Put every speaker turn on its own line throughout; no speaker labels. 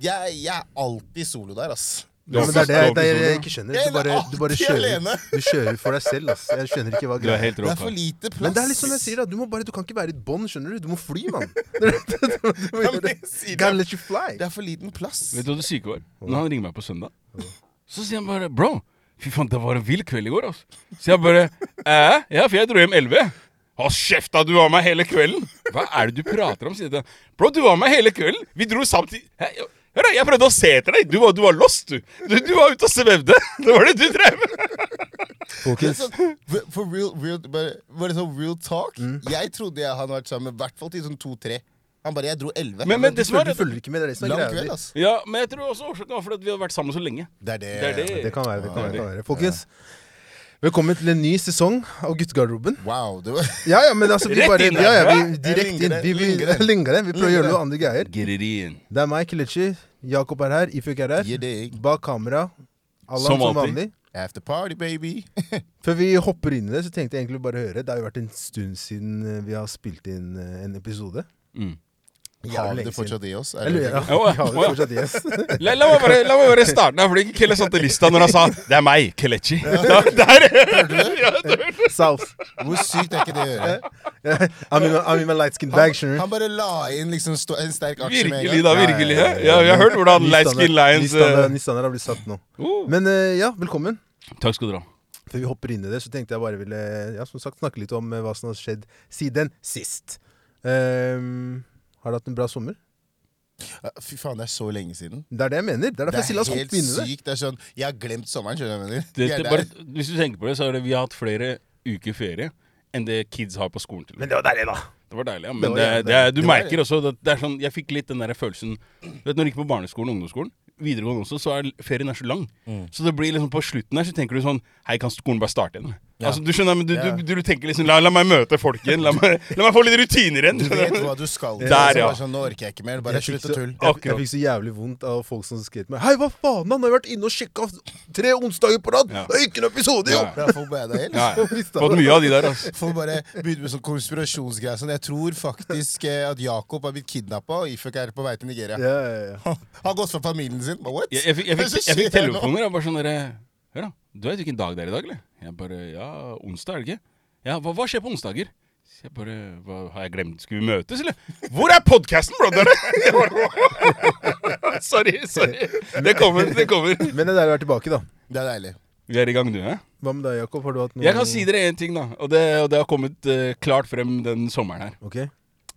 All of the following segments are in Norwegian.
Jeg, jeg er alltid solo der, ass.
Du
Ja,
er
men
fast
det er det jeg,
overbevist
jeg
om det.
ikke skjønner.
Jeg
Du bare,
er
du bare
alltid alene.
kjører, du kjører for deg selv. ass Jeg skjønner ikke hva
Du er
greia er.
helt
Det
rå.
er for lite plass.
Men det er litt som jeg sier, da. Du, må bare, du kan ikke være i et bånd, skjønner du. Du må fly, mann. Du må gjøre det.
jeg sier det.
Gotta let you fly.
Det er for liten plass.
Vet du hva det syke var? Når han ringer meg på søndag, så sier han bare Bro, fy faen, det var en vill kveld i går, altså. Så jeg bare Æ? Ja, for jeg dro hjem 11. Hold kjefta, du var med hele kvelden! Hva er det du prater om? sier jeg. Bro, du var med hele kvelden! Vi dro samtidig Hæ? Hør, da, jeg prøvde å se etter deg! Du var, du var lost, du. du! Du var ute og svevde! Det var det du drev med!
Men sånn, for- for real, real, bare, bare sånn real talk
Mm.
Jeg trodde jeg hadde vært sammen i hvert fall til sånn to-tre. Han bare 'Jeg dro elleve'.
Men- men det som er-
Du følger ikke med. Det er det som er
Lang
greia.
kveld,
di.
ass.
Ja, men jeg tror også årsaken var fordi at vi hadde vært sammen så lenge.
Det er det.
Det er det.
Det kan være. det kan være, det
Ja.
kan være. Folkens, velkommen til en ny sesong av Guttegarderoben.
Wow. Det var
Ja, ja, men altså, vi
Rett
bare
inn der,
ja, ja,
hæ?
vi, direkte inn. Vi, vi,
Lingre, lingre.
linger det. Vi prøver å gjøre
Lingre.
noe andre greier.
Get it in.
Det er meg, Kelechi. Jakob er her. Ifuk er
Gir
her.
deg.
Bak kamera. Allan
Som
som
alltid.
vanlig.
After party, baby.
Før vi hopper inn i det, så tenkte jeg egentlig bare å høre. Det har jo vært en stund siden eh, vi har spilt inn eh, en episode.
Mm.
Har
Jævlig
vi
lenge
det fortsatt i oss? Er
Jeg
det-
lurer, ja.
Å, ja.
Vi har
Å,
det
ja.
fortsatt, yes.
La, la, meg bare, la meg bare starte der, fordi Kelle satte lista når han sa 'det er meg, Kelechi'. Da- Der! Ja, det hørte du.
South.
Hvor sykt er ikke det å gjøre?
I'm in my, I'm in my light skin bag, skjønner du.
Han bare la inn liksom sto- en sterk aksje med en
Virkelig, da.
gang.
virkelig ja. Ja, Vi har hørt hvordan
Ny
Light
standard-
Skin eh. Lions
Ny standard, ny standard har blitt satt nå.
Oh.
Men eh, ja, velkommen.
eh, Takk skal du ha.
Før vi hopper inn i det, så tenkte jeg bare ville ja, som sagt, snakke litt om eh, hva som har skjedd siden sist. Ehm, har du hatt en bra sommer?
Ja, Fy faen, det er så lenge siden.
Det er det jeg mener. Det er derfor jeg stiller oss
helt
opp inn i det.
sykt. Det er sånn, Jeg har glemt sommeren, skjønner du hva jeg mener? Vi
Det,
er
det,
der.
bare, hvis du tenker på det, så er det vi har hatt flere uker ferie enn det kids har på skolen. til
Men det var deilig, da.
Det var deilig, ja.
Det
Men
var
det,
jævlig
det, er- du
Det var
merker også at det er sånn Jeg fikk litt den der følelsen Du vet når du gikk på barneskolen og ungdomsskolen, videregående også, så er ferien er så lang. Så det blir liksom på slutten her så tenker du sånn Hei, kan skolen bare starte igjen? Altså, du skjønner, men du,
Ja.
du, du, tenker liksom La, la meg møte folk igjen. La meg, la meg få litt rutiner igjen.
Du vet hva du skal til.
Der,
og så
ja.
bare Sånn, nå orker jeg ikke mer. Bare
Jeg
slutt
fikk
å
så-
tulle.
Jeg, jeg
Akkurat.
fikk så jævlig vondt av folk som skrev til meg. Hei, hva faen? Han har jo vært inne og sjekka tre onsdager på rad!
Ja.
Det er ikke noen episode, jo!
Ja.
Bra, folk bare, det er helt-
Ja, ja. Fått mye av de der, altså.
Folk bare begynte med sånn konspirasjonsgreier. Sånn, jeg tror faktisk eh, at Jakob har blitt kidnappa, og Ifuk er på vei til Nigeria.
Ja, ja, ja.
Han har gått fra familien sin. Bare, what?
Jeg, jeg, fikk- jeg,
Hva
fikk,
som
jeg fikk
skjer nå?
telefoner. Jeg bare sånn derre Hør, da. Du vet hvilken dag det er i dag, eller? Jeg bare Ja, onsdag, er det ikke? Ja, hva, hva skjer på onsdager? Så jeg bare hva, Har jeg glemt Skulle vi møtes, eller? Hvor er podkasten, brother? Jeg bare, sorry, sorry. Det kommer, det kommer.
Men det er deilig å være tilbake, da.
Det er deilig.
Vi er i gang nå, hæ?
Hva med deg, Jakob? Har du hatt noe
Jeg kan si dere én ting, da. Og det, og det har kommet eh, klart frem den sommeren her.
Ok.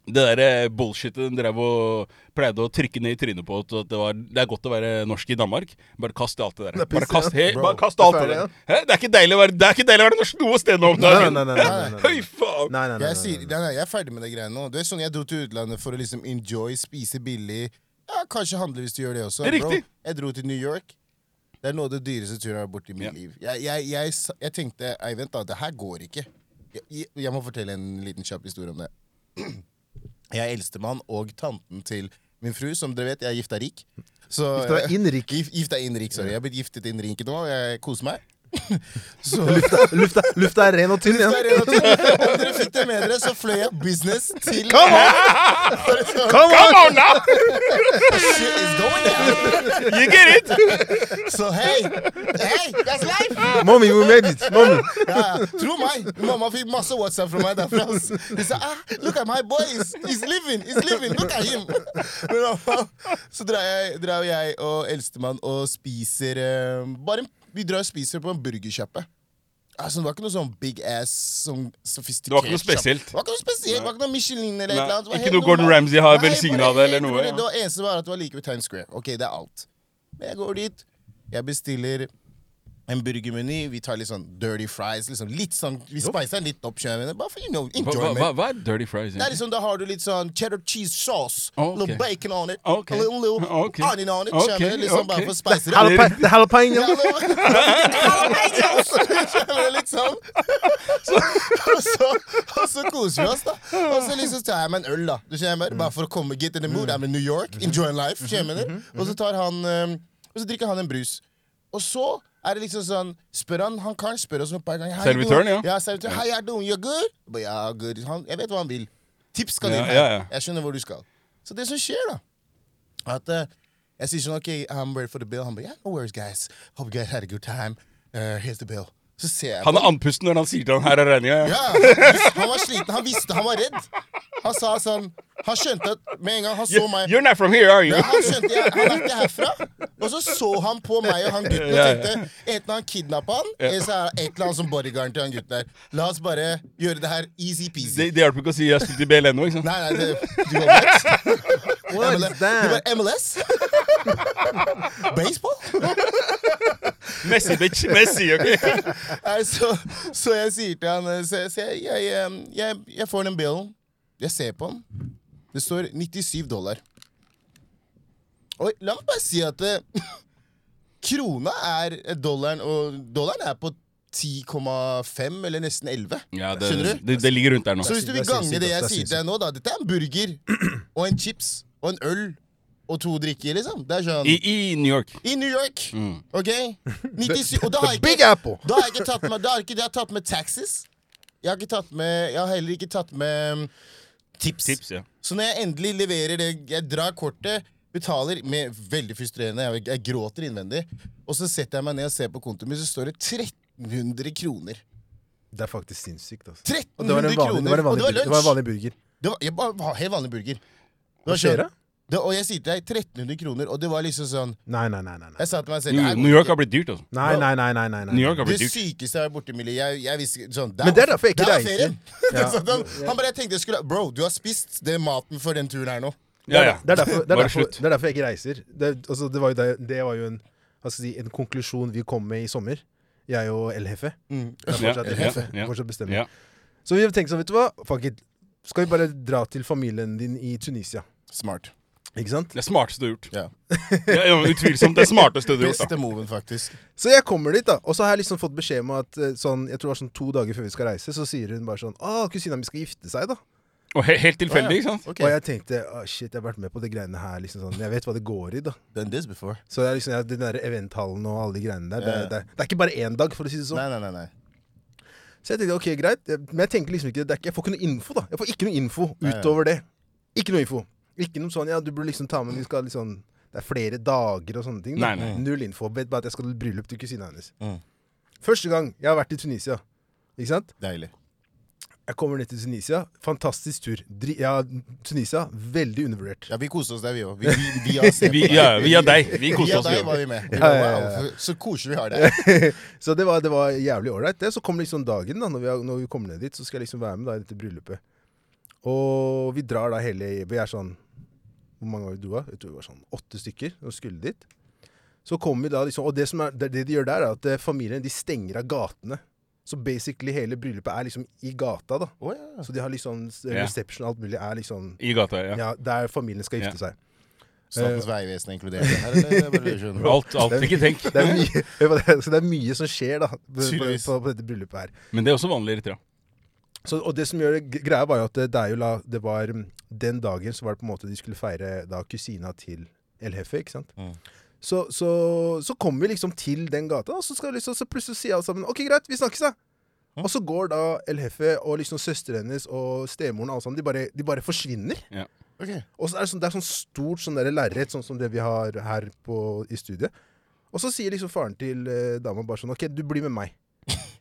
Det der bullshitet den drev og pleide å trykke ned i trynet på at det, var, det er godt å være norsk i Danmark. Bare kast alt det der.
Det er
Bare
piss,
kast,
ja.
he,
Bro,
bare kast
det er
alt det
ferdig,
der. Hæ? Det er ikke deilig å være, det er ikke deilig å være norsk noe sted nå om
Nei, nei,
dagen.
nei, nei, nei, nei, nei.
Høy faen!
Nei, nei, nei, nei,
Jeg,
nei,
sier,
nei.
nei, nei, jeg er ferdig med de greiene nå. Det er sånn Jeg dro til utlandet for å liksom enjoy, spise billig. Ja, Kanskje handle hvis du gjør det også.
Det er riktig.
Bro. Jeg dro til New York. Det er noe av det dyreste turen jeg har vært borti i mitt
Ja.
liv. Jeg, jeg, jeg, sa- jeg tenkte Eivind, da, det her går ikke. Jeg, jeg, jeg må fortelle en liten kjapp historie om det. Jeg er eldstemann og tanten til min fru, som dere vet, jeg er gifta rik. Så,
Gifta deg inn rik?
Gif, gifta inn rik, sorry. Jeg er blitt giftet inn rik nå, og jeg koser meg. Så,
Lufta- Lufta, lufta er ren og tynn
det
igjen.
er relativt. Om dere fikk det med dere, så fløy jeg business til
Come on!
Come on now!
Shit is going down.
You get it!
Så hei! Hei, that's life!
Mommy, we made it! Mommy.
Ja, ja. Tro meg! Mamma fikk masse WhatsApp fra meg derfra. ass. Hun sa ah, 'Look at my boy! He's, he's living! He's living! Look at him!' Men, mamma, så drar jeg, drar jeg og eldstemann og spiser eh, bare, en- Vi drar og spiser på en burgersjappe. Altså, det var ikke noe sånn big ass sånn sofistikert
Det var ikke noe
kjappe.
spesielt.
Det var ikke noe spesielt, det var ikke noe Michelin eller et
Nei,
eller annet. Det var
ikke
helt
noe Gordon
normalt.
Ramsay har
Nei,
velsignet
bare
det eller
helt
noe,
normalt.
ja.
Det var eneste var at det var like ved Times Square. Ok, det er alt. Men jeg går dit, jeg bestiller en burgermeny. Vi tar litt sånn dirty fries. Liksom litt sånn, Vi spicer den litt opp. skjønner du, Bare for you know,
Hva, hva, hva-
enjoyment.
hva er dirty fries?
Det er
egentlig?
liksom, Da har du litt sånn cheddar cheese sauce.
Ok.
Little bacon on it.
Ok.
A little, little
Ok.
onion on it.
Ok,
skjønner du, Liksom
ok.
Bare for å spice det opp.
Jalapa- det er Jalapeno.
Jalapeños! liksom. Så, og, så, og så koser vi oss, da. Og så liksom tar jeg meg en øl, da. Du skjønner, bare for å komme get in the
Mm.
mood. I'm in New York, enjoying life. Skjønner, du?
Mm-hmm.
og så tar han eh, Og så drikker han en brus. Og så er det liksom sånn Spør han han karen spør oss om et par ganger. «How you doing?»
Servitøren, ja.
ja servitøren, How you doing? You good? Jeg bare, ja, good. Han, jeg vet hva han vil. Tips skal
Ja,
inn her.
ja, ja.
Jeg skjønner hvor du skal. Så det som skjer, da at eh, Jeg sier sånn, ok, I'm ready for the bill. Han bare, yeah, no worries, guys. Hope you guys had a good time. Uh, here's the bill. Så ser jeg på
Han er andpusten når han sier til han her er regninga.
Ja, han, han var sliten. Han visste han var redd. Han sa sånn Han skjønte at med en gang han så meg
You're not from here, are you?
ja, han skjønte jeg, han er ikke herfra. Og så så han på meg og han gutten og
Ja, ja.
tenkte enten han kidnappa han, eller så er det et eller annet som bodyguarden til han gutten der. La oss bare gjøre det her easy-peasy.
Det, det hjelper ikke å si jeg spilte i BLN nå, ikke sant?
Nei, nei, det, du var best.
What
MLS.
is
Du
that?
var MLS? Baseball?
Messi, bitch. Messi, ok?
Nei, så, så jeg sier til han eh, Så, så jeg, jeg, eh, jeg, jeg får den billen. Jeg ser på den. Det står 97 dollar. Oi, la meg bare si at eh, krona er eh, dollaren, og dollaren er på 10,5 eller nesten 11.
Ja, det,
Skjønner du?
det, det ligger rundt der nå.
Så hvis du vil
Det er
gange
sinnssykt,
det jeg
ass. Det er
sier til deg nå, da Dette er en burger og en chips og en øl og to drikker, liksom. Det er sånn
I, I New York.
i New York. OK? 97, og da har jeg
Mm. Big
ikke,
Apple.
da har jeg ikke tatt med, da har jeg ikke, jeg har tatt med taxes. Jeg har, ikke tatt med, jeg har heller ikke tatt med um, tips.
Tips, ja.
Så når jeg endelig leverer det Jeg drar kortet, betaler med veldig frustrerende Jeg, jeg gråter innvendig. Og så setter jeg meg ned og ser på kontoen min, så står det 1300 kroner.
Det er faktisk sinnssykt. Altså.
1300
Og det var en vanlig, det var en
kroner, og det var
vanlig, bur- det
lunsj!
var en vanlig burger.
Det var, jeg bare, var helt vanlig burger. Det var
Hva skjer
sånn-
da?
Det, og jeg sier til deg 1300 kroner, og det var liksom sånn
Nei, nei, nei. nei, nei.
Jeg sa til meg selv
New,
"Nei,
New York har blitt dyrt, altså.
Nei, nei, nei, nei, nei, nei.
New York har
Det
blitt dyrt.
sykeste jeg har vært borti Millie jeg, jeg visste ikke- sånn, der,
Men det er derfor jeg ikke
der var
reiser.
ferien.
Ja.
sånn, han- han bare jeg tenkte jeg skulle Bro, du har spist det maten for den turen her nå.
Ja, ja.
Det er derfor, det er
Bare
derfor,
slutt.
det er derfor jeg ikke reiser. Det, altså, det var jo, det, det var jo en, hva skal jeg si, en konklusjon vi kom med i sommer. Jeg og El Jefe. Det er
Mm. Ja,
fortsatt
ja,
El Jefe.
ja.
Fortsatt bestemmer.
Ja.
Så vi tenkte sånn, vet du hva? Fuck it. Skal vi bare dra til familien din i Tunisia?
Smart.
Ikke sant?
Det er smarteste du har gjort.
Ja.
Ja, ja, utvilsomt det smarteste du har gjort.
Beste moven, faktisk.
Så jeg kommer dit, da. Og så har jeg liksom fått beskjed om at eh, sånn, jeg tror det var sånn to dager før vi skal reise, så sier hun bare sånn Å, kusina mi skal gifte seg, da.
da Og he helt tilfeldig, ikke sant?
Ok,
Og jeg tenkte «Å, shit, jeg har vært med på de greiene her. liksom sånn, Jeg vet hva det går i, da.
Done this before.
Så det er liksom, ja, den der eventhallen og alle de greiene der,
Ja,
det,
ja.
er- det, er- det er ikke bare én dag, for å si det sånn.
Nei, nei, nei. nei.
Så jeg tenkte ok, greit, jeg- men jeg tenker liksom ikke, det er ikke jeg får ikke noe info, da. Jeg får ikke noe info utover det. Ikke noe info. Ikke noe sånn ja, du burde liksom ta med vi skal liksom Det er flere dager og sånne ting. da.
Nei, nei.
Null info. Vet bare at jeg skal til bryllup til kusina hennes.
Mm.
Første gang jeg har vært i Tunisia. Ikke sant?
Deilig.
Jeg kommer ned til Tunisia. Fantastisk tur. Dri ja, Tunisia, veldig undervurdert.
Ja, Vi koste oss der, vi òg. Vi, vi, vi har sett
Vi, ja, via deg. Vi koste
Via
oss.
deg var
jo.
vi med. Vi
Ja, ja,
bare,
ja.
wow, så koselig vi har det.
Så det var, det var jævlig ålreit. det. Så kom liksom dagen, da, når vi, har- når vi kommer ned dit, så skal jeg liksom være med da i dette bryllupet. Og vi drar da hele Vi er sånn Hvor mange var vi dro av? Jeg tror vi var sånn åtte stykker som skulle dit. Så kommer vi da liksom Og det, som er, det, det de gjør der, er at eh, familien de stenger av gatene. Så basically hele bryllupet er liksom i gata, da.
Å, ja.
Så de har liksom s-
Ja.
reception og alt mulig er liksom
I gata, ja.
Ja, der familien skal gifte
Ja.
seg.
Statens vegvesen er inkludert i det her, eller? Jeg bare skjønner.
Alt, alt. Ikke tenk.
Det er mye, så det er mye som skjer da på, på,
Tydeligvis.
på, på dette bryllupet her.
Men det er også vanlig i Eritrea.
Så, og det som gjør det g- greia, var jo at det, det er jo la, det var mm, Den dagen så var det på en måte de skulle feire da kusina til El Jefe, ikke sant?
Mm.
Så, så, så kommer vi liksom til den gata, og så, skal liksom, så plutselig sier alle sammen OK, greit, vi snakkes, da. Og så går da El Jefe og liksom søsteren hennes og stemoren og alle sammen, de bare, de bare forsvinner.
Ja.
Ok.
Og så er det, sånn, det er sånn stort sånn der lerret, sånn som det vi har her på, i studiet. Og så sier liksom faren til eh, dama bare sånn OK, du blir med meg.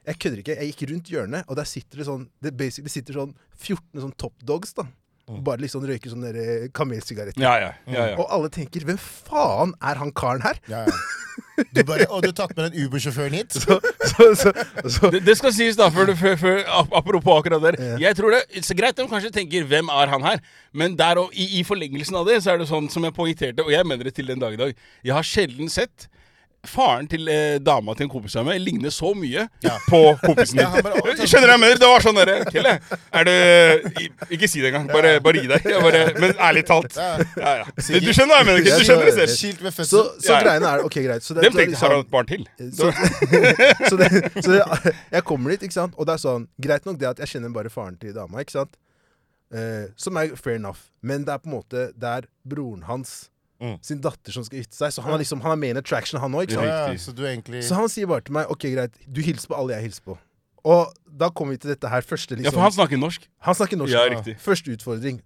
Jeg kødder ikke. Jeg gikk rundt hjørnet, og der sitter det sånn Det, basic, det sitter sånn 14 sånn top dogs, da. Og bare liksom røyker sånne der, eh, kamelsigaretter.
Ja, ja. ja, Mm. ja.
Og alle tenker 'Hvem faen er han karen her?'
Ja, ja. Du bare, og du har tatt med den Uber-sjåføren hit?
Så, så, så, så,
Det, det skal sies, da, før, du- før, før, ap- apropos akkurat der. Jeg tror det så greit de kanskje tenker 'hvem er han her?' Men der og, i, i forlengelsen av det, så er det sånn som jeg poengterte, og jeg mener det til den dag i dag Jeg har sjelden sett faren til eh, dama til en kompis av meg ligne så mye på kompisen
Ja, han
din.
bare, «Å, takk».
Skjønner jeg mener? Det var sånn derre Kelle, er du i- Ikke si det engang. Bare, bare gi deg. Jeg bare, men ærlig talt.
Ja.
Ja, ja. Du skjønner hva jeg mener, Kelle. Du skjønner det selv.
Skilt ved
så,
fødsel?
så
Ja, ja.
greiene er OK, greit. Så det,
Dem
så det er
tenkte
liksom-
har han et barn til.
Så, så, det, så det, jeg kommer dit, ikke sant? og det er sånn Greit nok det at jeg kjenner bare faren til dama, ikke sant? Eh, som er fair enough, men det er på en måte Det er broren hans
Mm.
sin datter som skal gifte seg, så han er liksom Han er main attraction, han òg,
Ja,
ikke sant?
ja,
Riktig.
så du er egentlig
Så han sier bare til meg OK, greit, du hilser på alle jeg hilser på. Og da kommer vi til dette her første,
Ja,
liksom.
for han snakker norsk.
Han snakker norsk.
Ja, riktig.
Første utfordring.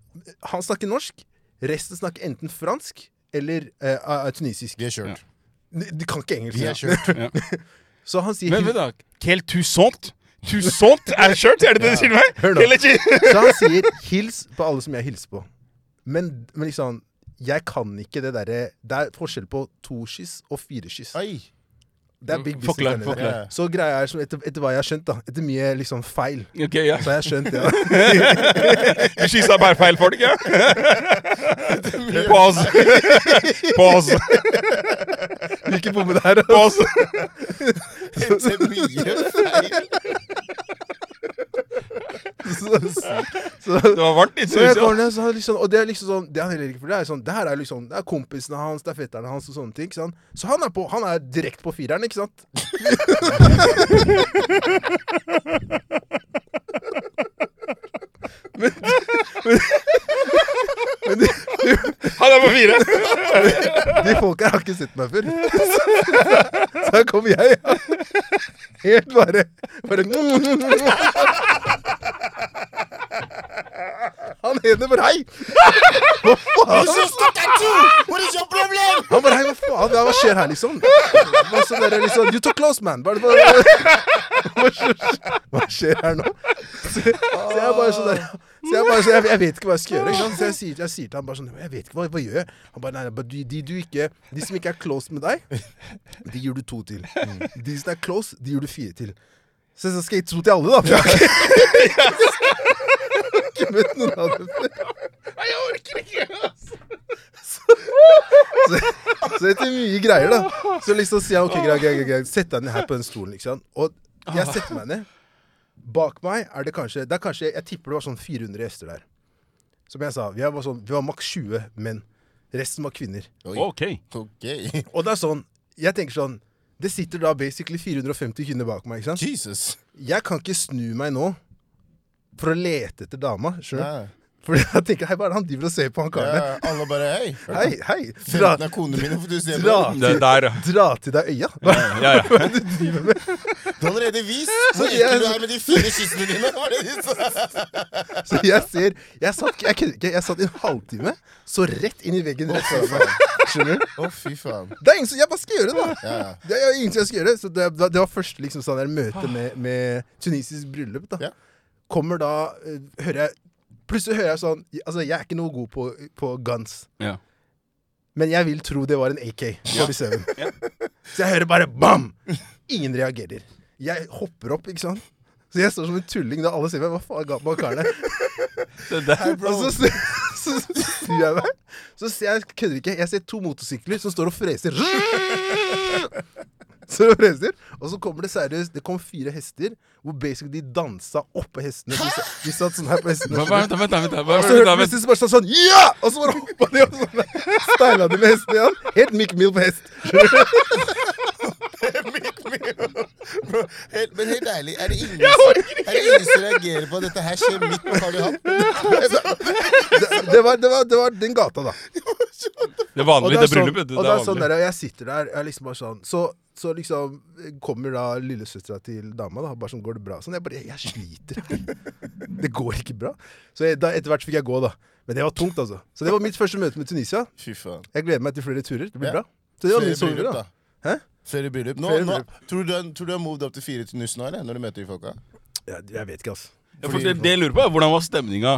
Han snakker norsk. Resten snakker enten fransk eller eh, er tunisisk.
Vi er kjørt.
De de kan ikke engelsk.
Vi er
ja.
kjørt.
Så han sier,
Men, men da, Quel tussant? Tussant er det kjørt, er det det du sier til meg?
Hør nå.
Quel er kjørt?
så han sier 'hils på alle som jeg hilser på'. Men, men liksom jeg kan ikke det derre Det er forskjell på toskyss og fireskyss.
Oi.
Det er big business.
Forklar,
der nede.
forklar.
Ja.
Så greia er, som etter, etter hva jeg har skjønt, da etter mye liksom feil,
Ok, ja.
så har jeg skjønt det. da.
Vi skyssa bare feil folk, ja. På oss. På oss.
Hvilken bomme det er.
På oss.
Det er mye feil.
Så, så, så,
Det var varmt litt,
Så jeg
synes
går ned, så har jeg liksom, og det er liksom sånn Det er han heller ikke for det er sånn, det her er liksom Det er kompisene hans, det er fetterne hans og sånne ting. Ikke sant? Så han er, på, han er direkte på fireren, ikke sant? men men, men de,
jeg. Han er på fire.
de folka har ikke sett meg før. Så her kommer jeg, ja. Helt bare, bare Han ene bare Hei! Hva faen?
It's just look at you! What is your problem?
Han bare Hei, hva faen? Ja, hva skjer her, liksom? Hva så der, liksom You took close, man. Bare, bare, hva, skjer, hva skjer her nå? Så, så jeg bare sånn der så jeg, bare, så jeg, jeg vet ikke hva jeg skal gjøre. Ikke sant? Så jeg sier, jeg sier til han bare sånn Jeg vet ikke, hva, hva gjør jeg? Han bare Nei, nei, bare de, de, du ikke, de som ikke er close med deg, de gir du to til. De som er close, de gir du fire til. Så så skal jeg gi to til alle, da. for Jeg har ikke, jeg har ikke møtt noen av dem før.
Nei, jeg orker ikke.
Så, så etter mye greier, da. Så liksom sier han OK, greit, greit, greit, greit. Sett deg ned her på den stolen, ikke sant. Og jeg setter meg ned. Bak meg er det kanskje det er kanskje, Jeg tipper det var sånn 400 gjester der. Som jeg sa, vi var, sånn, vi var maks 20 menn. Resten var kvinner.
Ok.
Ok.
Og det er sånn Jeg tenker sånn Det sitter da basically 450 kvinner bak meg, ikke sant.
Jesus.
Jeg kan ikke snu meg nå for å lete etter dama, skjønner du.
Ja.
For jeg tenker, hei, hva er det han driver og ser på, han karen der?
Ja, alle bare hei.
Hei, hei! Dra,
Femten er konene mine, for du ser på.
dra,
Det
til,
er der, ja.
dra til deg øya! Hva
Ja, ja.
er det du driver med?
Du har allerede vist hvor
jeg-
ekkel du er med de fire kyssene dine. Var det de sa?
Så jeg ser Jeg satt, jeg kødder ikke, jeg satt i en halvtime, så rett inn i veggen. Rett foran meg. Skjønner du?
Å, fy faen.
Det er ingen som Jeg bare skal gjøre det, da.
Ja, ja.
Det er ingenting jeg skal gjøre. Så det, det var første liksom, sånn der møte med, med tunisisk bryllup. da
Ja.
Kommer da eh, hører jeg, Plutselig hører jeg sånn Altså, jeg er ikke noe god på, på guns.
ja.
Men jeg vil tro det var en AK-47. Så jeg hører bare bam! Ingen reagerer. Jeg hopper opp, ikke sant. Så jeg står som en tulling da alle ser meg. Hva faen ga bak karen der?
Det der.
Og så, ser- så, så snur jeg meg, så ser jeg kødder ikke, jeg ser to motorsykler som står og freser. Så de freser, og så kommer det seriøst Det kom fire hester hvor basically de dansa oppå hestene. De, sa- de satt sånn her på hestene.
Vent, vent, vent. vent,
Og så
vent,
hørte jeg
vent.
plutselig så bare sånn, sånn Ja! Og så bare hoppa de og sånn steila de med hesten igjen. Helt Mick Mill på hest.
Bro, helt, men helt ærlig, er det ingen, som- er det ingen som reagerer på at dette her skjer midt på Karl Johan?
Det, det, var, det, var, det var den gata, da.
Det er vanlig, det er
sånn,
bryllup. vet du,
og det er sånn
vanlig.
der, og jeg sitter der, jeg er liksom bare sånn Så, så liksom kommer da lillesøstera til dama, da, bare sånn Går det bra? Sånn, jeg bare Jeg sliter. Det går ikke bra. Så jeg, da, etter hvert så fikk jeg gå, da. Men det var tungt, altså. Så det var mitt første møte med Tunisia.
Fy faen.
Jeg gleder meg til flere turer. Det blir
Ja.
bra. Så det var sånn-
Flere
min sommer,
bryllup,
da.
da.
Hæ?
Flere bryllup. Nå, nå,
Flere bryllup.
tror, du, du har- tror du har moved opp til fire til nussen nå, eller? Når du møter de folka?
Ja, jeg vet ikke, altså.
Ja, for det, det jeg lurer på er, Hvordan var stemninga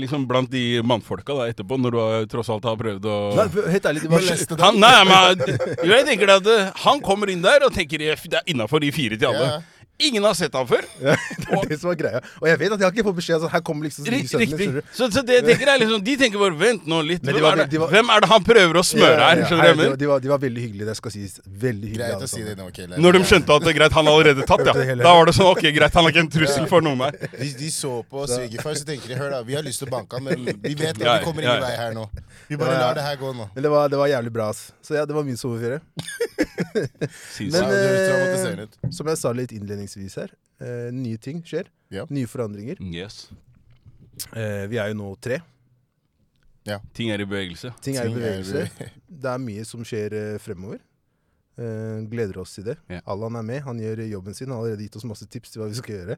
liksom, blant de mannfolka da etterpå, når du har, tross alt har prøvd å
Nei, helt ærlig, det var
Moleste dem.
han, nei, men, jo, jeg tenker det at eh, han kommer inn der og tenker eh, det er innafor de fire til alle.
Ja.
Ingen har sett ham før.
Det er det som er greia. Og jeg vet at jeg har ikke fått beskjed. Altså, her kommer liksom
Ri-
sønnen min,
Riktig.
skjønner du.
Så, så det jeg tenker er liksom, de tenker bare Vent nå litt.
Men de
Hvem
var
er
veld-
det,
de var-
hvem er det han prøver å smøre
Ja, ja,
her?
ja.
Skjønner du hva
Nei,
jeg mener?
de, var, de var veldig hyggelige, det skal sies. Veldig hyggelige.
Greit å
alle
si det
sammen.
nå, Kjell.
Når de skjønte at eh, greit, han er allerede tatt,
Hørte det
ja.
hele.
Da var det sånn Ok, greit, han er ikke en trussel for noen her.
De, de så på svigerfar, så tenker de hør da, vi har lyst til å banke han, men vi vet at
Ja,
vi kommer
ja,
ingen
ja.
vei her nå. Vi bare
Ja, ja.
lar det her gå nå.
Men det var, det var jævlig bra, ass. Så ja, det var min sommerferie.
Sies
Men
Ja, det høres traumatiserende
eh,
ut.
som jeg sa litt innledningsvis her, eh, nye ting skjer.
Ja.
Nye forandringer.
det. Yes.
Eh, vi er jo nå tre.
Ting er i bevegelse.
Ting er i
Ting er i
bevegelse. Det er mye som skjer eh, fremover. Eh, gleder oss til det.
Ja.
Allan er med, han gjør eh, jobben sin. Han har allerede gitt oss masse tips til hva vi skal gjøre.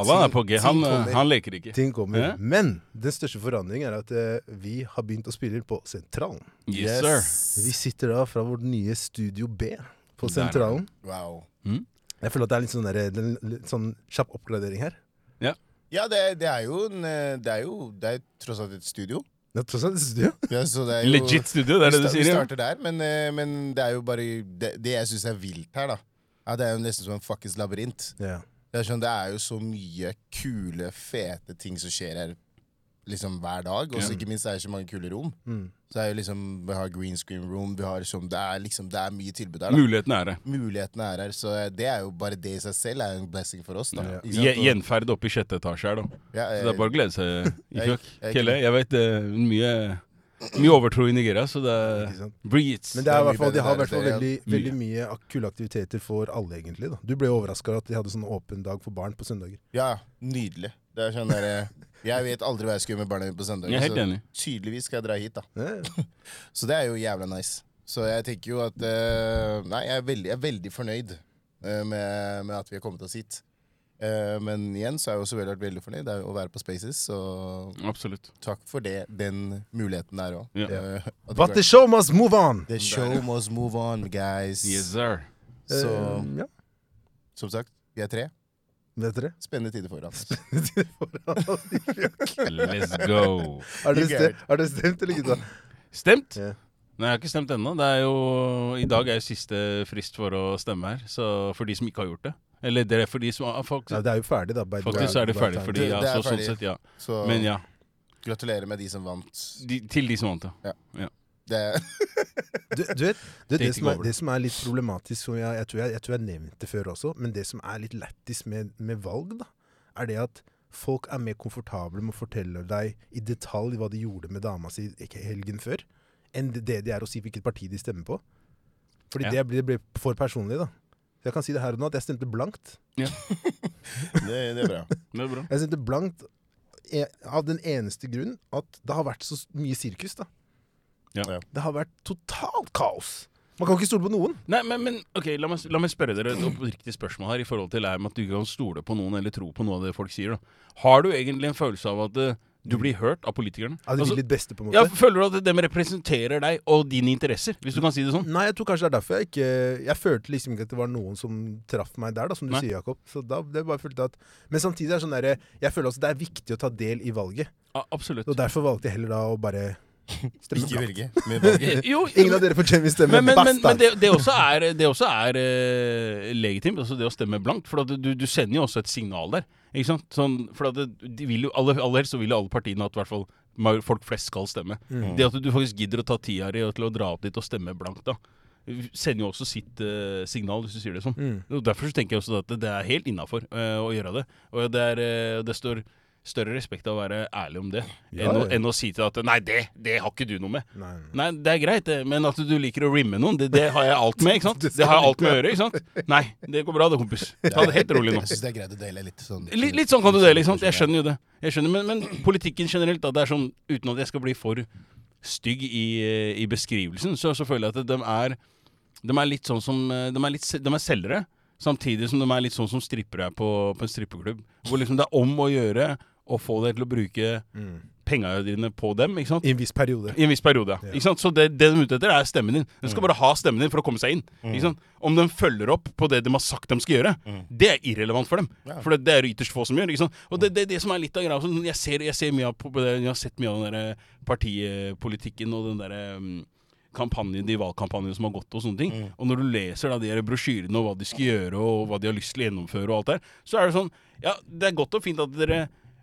Allan er på G. Han, eh,
ting kommer.
han leker ikke.
Ting kommer.
Ja.
Men den største forandringen er at eh, vi har begynt å spille på Sentralen.
Yes, sir.
Vi sitter da fra vårt nye Studio B
Der er
på
det.
Sentralen.
Wow.
Jeg føler at det er litt sånn, der, det er en litt sånn kjapp oppgradering her.
Ja, det, det er jo en eh, Det er jo det er tross alt et studio.
Det er tross alt et studio.
Ja, så det er jo,
Legit studio, det er det
vi
du
sta-
sier?
Vi
Ja.
starter der, men, eh, men det er jo bare Det, det jeg syns er vilt her, da. Ja, det er jo nesten som en fuckings labyrint.
Ja.
Det er, sånn, det er jo så mye kule, fete ting som skjer her liksom hver dag. Og så ikke minst er det så mange kule rom. Så det er jo liksom, Vi har green screen room, vi har sånn, det, er liksom, det er mye tilbud her. da.
Muligheten er det.
Mulighetene er her, så det er jo bare det i seg selv er jo en blessing for oss. da. Ikke sant?
Gje- Gjenferd oppe i sjette etasje her, da.
Ja,
Så
eh,
det er bare å glede seg.
Jeg-
Ikke sant?
jeg-
Kelle, jeg vet det er mye, mye overtro i Nigeria, så det
Ikke
er
sant?
Bring it.
Men det er
Det
i
er mye
hvert fall, de har
bedre
i hvert fall
der,
veldig,
ja.
veldig mye ak- kule aktiviteter for alle, egentlig. da. Du ble overraska at de hadde sånn åpen dag for barn på søndager.
Ja, nydelig. Det er sånn der, eh, jeg vet aldri hva jeg skal gjøre med barna mine på søndag.
Jeg er helt enig.
tydeligvis skal jeg dra hit, da.
Ja,
Så det er jo jævla nice. Så jeg tenker jo at eh, Nei, jeg er veldig, jeg er veldig fornøyd eh, med, med at vi har kommet oss hit. Eh, men igjen så har jeg også veldig vært veldig fornøyd det er jo å være på Spaces, så
Absolutt.
takk for det, den muligheten der Eh, òg.
Ja.
But the show must move on!
the show must move on, guys.
Yes, sir.
Så
Eh, ja.
som sagt, vi er tre.
Vet dere?
Spennende tider foran oss.
Let's go.
Har
You
dere
get it.
stemt, har dere stemt eller ikke? da?
Stemt?
Ja.
Nei, jeg har ikke stemt ennå. Det er jo, I dag er jo siste frist for å stemme her. Så for de som ikke har gjort det. Eller det er for de som ah, folk,
Ja, det er jo ferdig, da. by the way.
Faktisk så er det ferdig for de, ja.
Det er
Så, sånn
ferdig.
sett, ja.
Så
Men ja.
gratulerer med de som vant.
De, til de som vant, ja.
Det,
Du, du vet, du, vet det,
Dating
som er,
over.
det som er litt problematisk, som jeg, jeg, tror jeg, jeg tror jeg nevnte det før også, men det som er litt lættis med, med valg, da, er det at folk er mer komfortable med å fortelle deg i detalj hva de gjorde med dama si ikke helgen før, enn det- det de er å si hvilket parti de stemmer på. Fordi
Ja.
det blir, det blir for personlig, da. Så Jeg kan si det her og nå at jeg stemte blankt.
det, det er bra.
Det er bra.
Jeg stemte blankt eh, av den eneste grunn at det har vært så mye sirkus, da.
Ja.
Ja.
Det har vært totalt kaos. Man kan ikke stole på noen.
Nei, men, men ok, la meg, la meg spørre dere et oppriktig spørsmål her i forhold til det med at du ikke kan stole på noen eller tro på noe av det folk sier. da. Har du egentlig en følelse av at eh, du blir hørt av politikerne?
Av det
Altså,
litt beste, på en måte.
ja, Føler du at dem representerer deg og dine interesser, hvis du kan si det sånn?
Nei, jeg tror kanskje det er derfor jeg ikke Jeg følte liksom ikke at det var noen som traff meg der, da, som du
Nei.
sier, Jakob. Så da det bare følte jeg at Men samtidig er det sånn derre Jeg føler også det er viktig å ta del i valget.
Ja, absolutt.
Og derfor valgte jeg heller da å bare stemme
Ikke
blankt.
velge, men valge.
Jo,
Ingen av dere fortjener min stemme,
men, men, men, men
bastard!
det, det også er, det også er eh, legitimt, altså det å stemme blankt. For at du, du sender jo også et signal der. Ikke sant? Sånn, for at det- de vil jo, alle, aller helst så vil jo alle partiene at i hvert fall ma- folk flest skal stemme.
Mm.
Det at du faktisk gidder å ta tida di og til å dra opp dit og stemme blankt, da. Sender jo også sitt eh, signal, hvis du sier det sånn.
Mm.
Og Derfor så tenker jeg også at det- det er helt innafor eh, å gjøre det. Og det, er, eh, det står større respekt av å være ærlig om det,
Ja,
enn, å,
ja.
enn å si til at Nei, det, det har ikke du noe med.
Nei,
Nei, det er greit, det, men at du liker å rimme noen, det, det har jeg alt med. ikke sant? Det har jeg alt med å gjøre. ikke sant? Nei, det går bra det, kompis. Ta det helt rolig nå.
Jeg syns det er greit å dele litt sånn.
Litt, litt sånn kan du dele, ikke sant? Jeg skjønner jo det. Jeg skjønner, Men, men politikken generelt, da, det er sånn uten at jeg skal bli for stygg i, eh, i beskrivelsen, så, så føler jeg at de er, de er litt sånn som eh, De er, litt, se- de er selgere, samtidig som de er litt sånn som strippere er på, på en strippeklubb. Hvor liksom det er om å gjøre å få deg til å bruke penga dine på dem, ikke sant?
I en viss periode.
I en viss periode, ja. Ikke sant? Så det, det de er ute etter, er stemmen din. De skal bare ha stemmen din for å komme seg inn. Ikke sant? Om de følger opp på det de har sagt de skal gjøre, det er irrelevant for dem. For det, det er det ytterst få som gjør. Ikke sant? Og det, det, er det som er litt av greia sånn, jeg, ser, jeg, ser mye av, på- på det- jeg har sett mye av den der eh, partipolitikken og den derre mm, kampanjen, de valgkampanjene som har gått og sånne ting. Og når du leser da de her brosjyrene og hva de skal gjøre og hva de har lyst til å gjennomføre og alt der, så er det sånn Ja, det er godt og fint at dere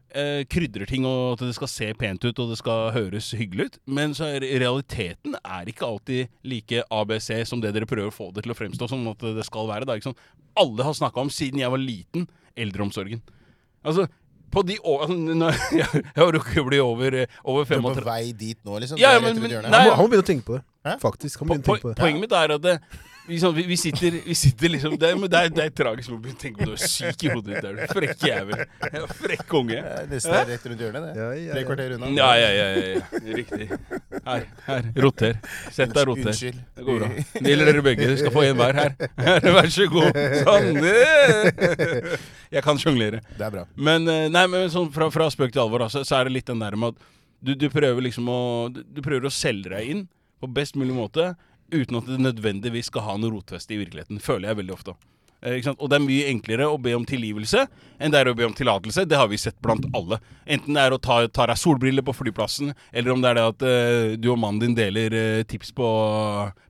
eh, krydrer ting og at det skal se pent ut og det skal høres hyggelig ut, men så er realiteten er ikke alltid like ABC som det dere prøver å få det til å fremstå som at det skal være. Da, ikke sant? Alle har snakka om, siden jeg var liten, eldreomsorgen. Altså, på de år... Altså, når, jeg, jeg har rukket å bli over, eh, over
Du er på
35
vei dit nå, liksom?
Ja,
Du er
ja,
rett
men-
rundt
men-
hjørnet.
nei,
Han må, han må begynne å tenke på det.
Hæ?
Faktisk. Han
Po-
begynte å tenke
po-
på det.
Poenget mitt er at det, vi, sånn, vi, vi, sitter, vi sitter liksom Det er, men det er, det er tragisk å tenke på det. Du er syk i hodet ditt. Er du frekk jævel. Frekk unge.
Det er nesten rett rundt hjørnet, det.
Ja, ja,
Tre
ja.
kvarter unna.
Ja, ja, ja. ja, ja. Riktig. Her. her, Roter. Sett deg og roter.
Unnskyld.
Det går bra. Det gjelder dere begge. Dere skal få en hver her. her. Vær så god. Sånn. eh. Jeg kan sjonglere.
Det er bra.
Men, eh, nei, men sånn fra, fra spøk til alvor, altså, så er det litt den der med at du, du prøver liksom å du, du prøver å selge deg inn på best mulig måte uten at det nødvendigvis skal ha noe rotfeste i virkeligheten. Føler jeg veldig ofte. Eh, ikke sant? Og det er mye enklere å be om tilgivelse enn det er å be om tillatelse. Det har vi sett blant alle. Enten det er å ta, ta deg solbriller på flyplassen, eller om det er det at eh, du og mannen din deler eh, tips på,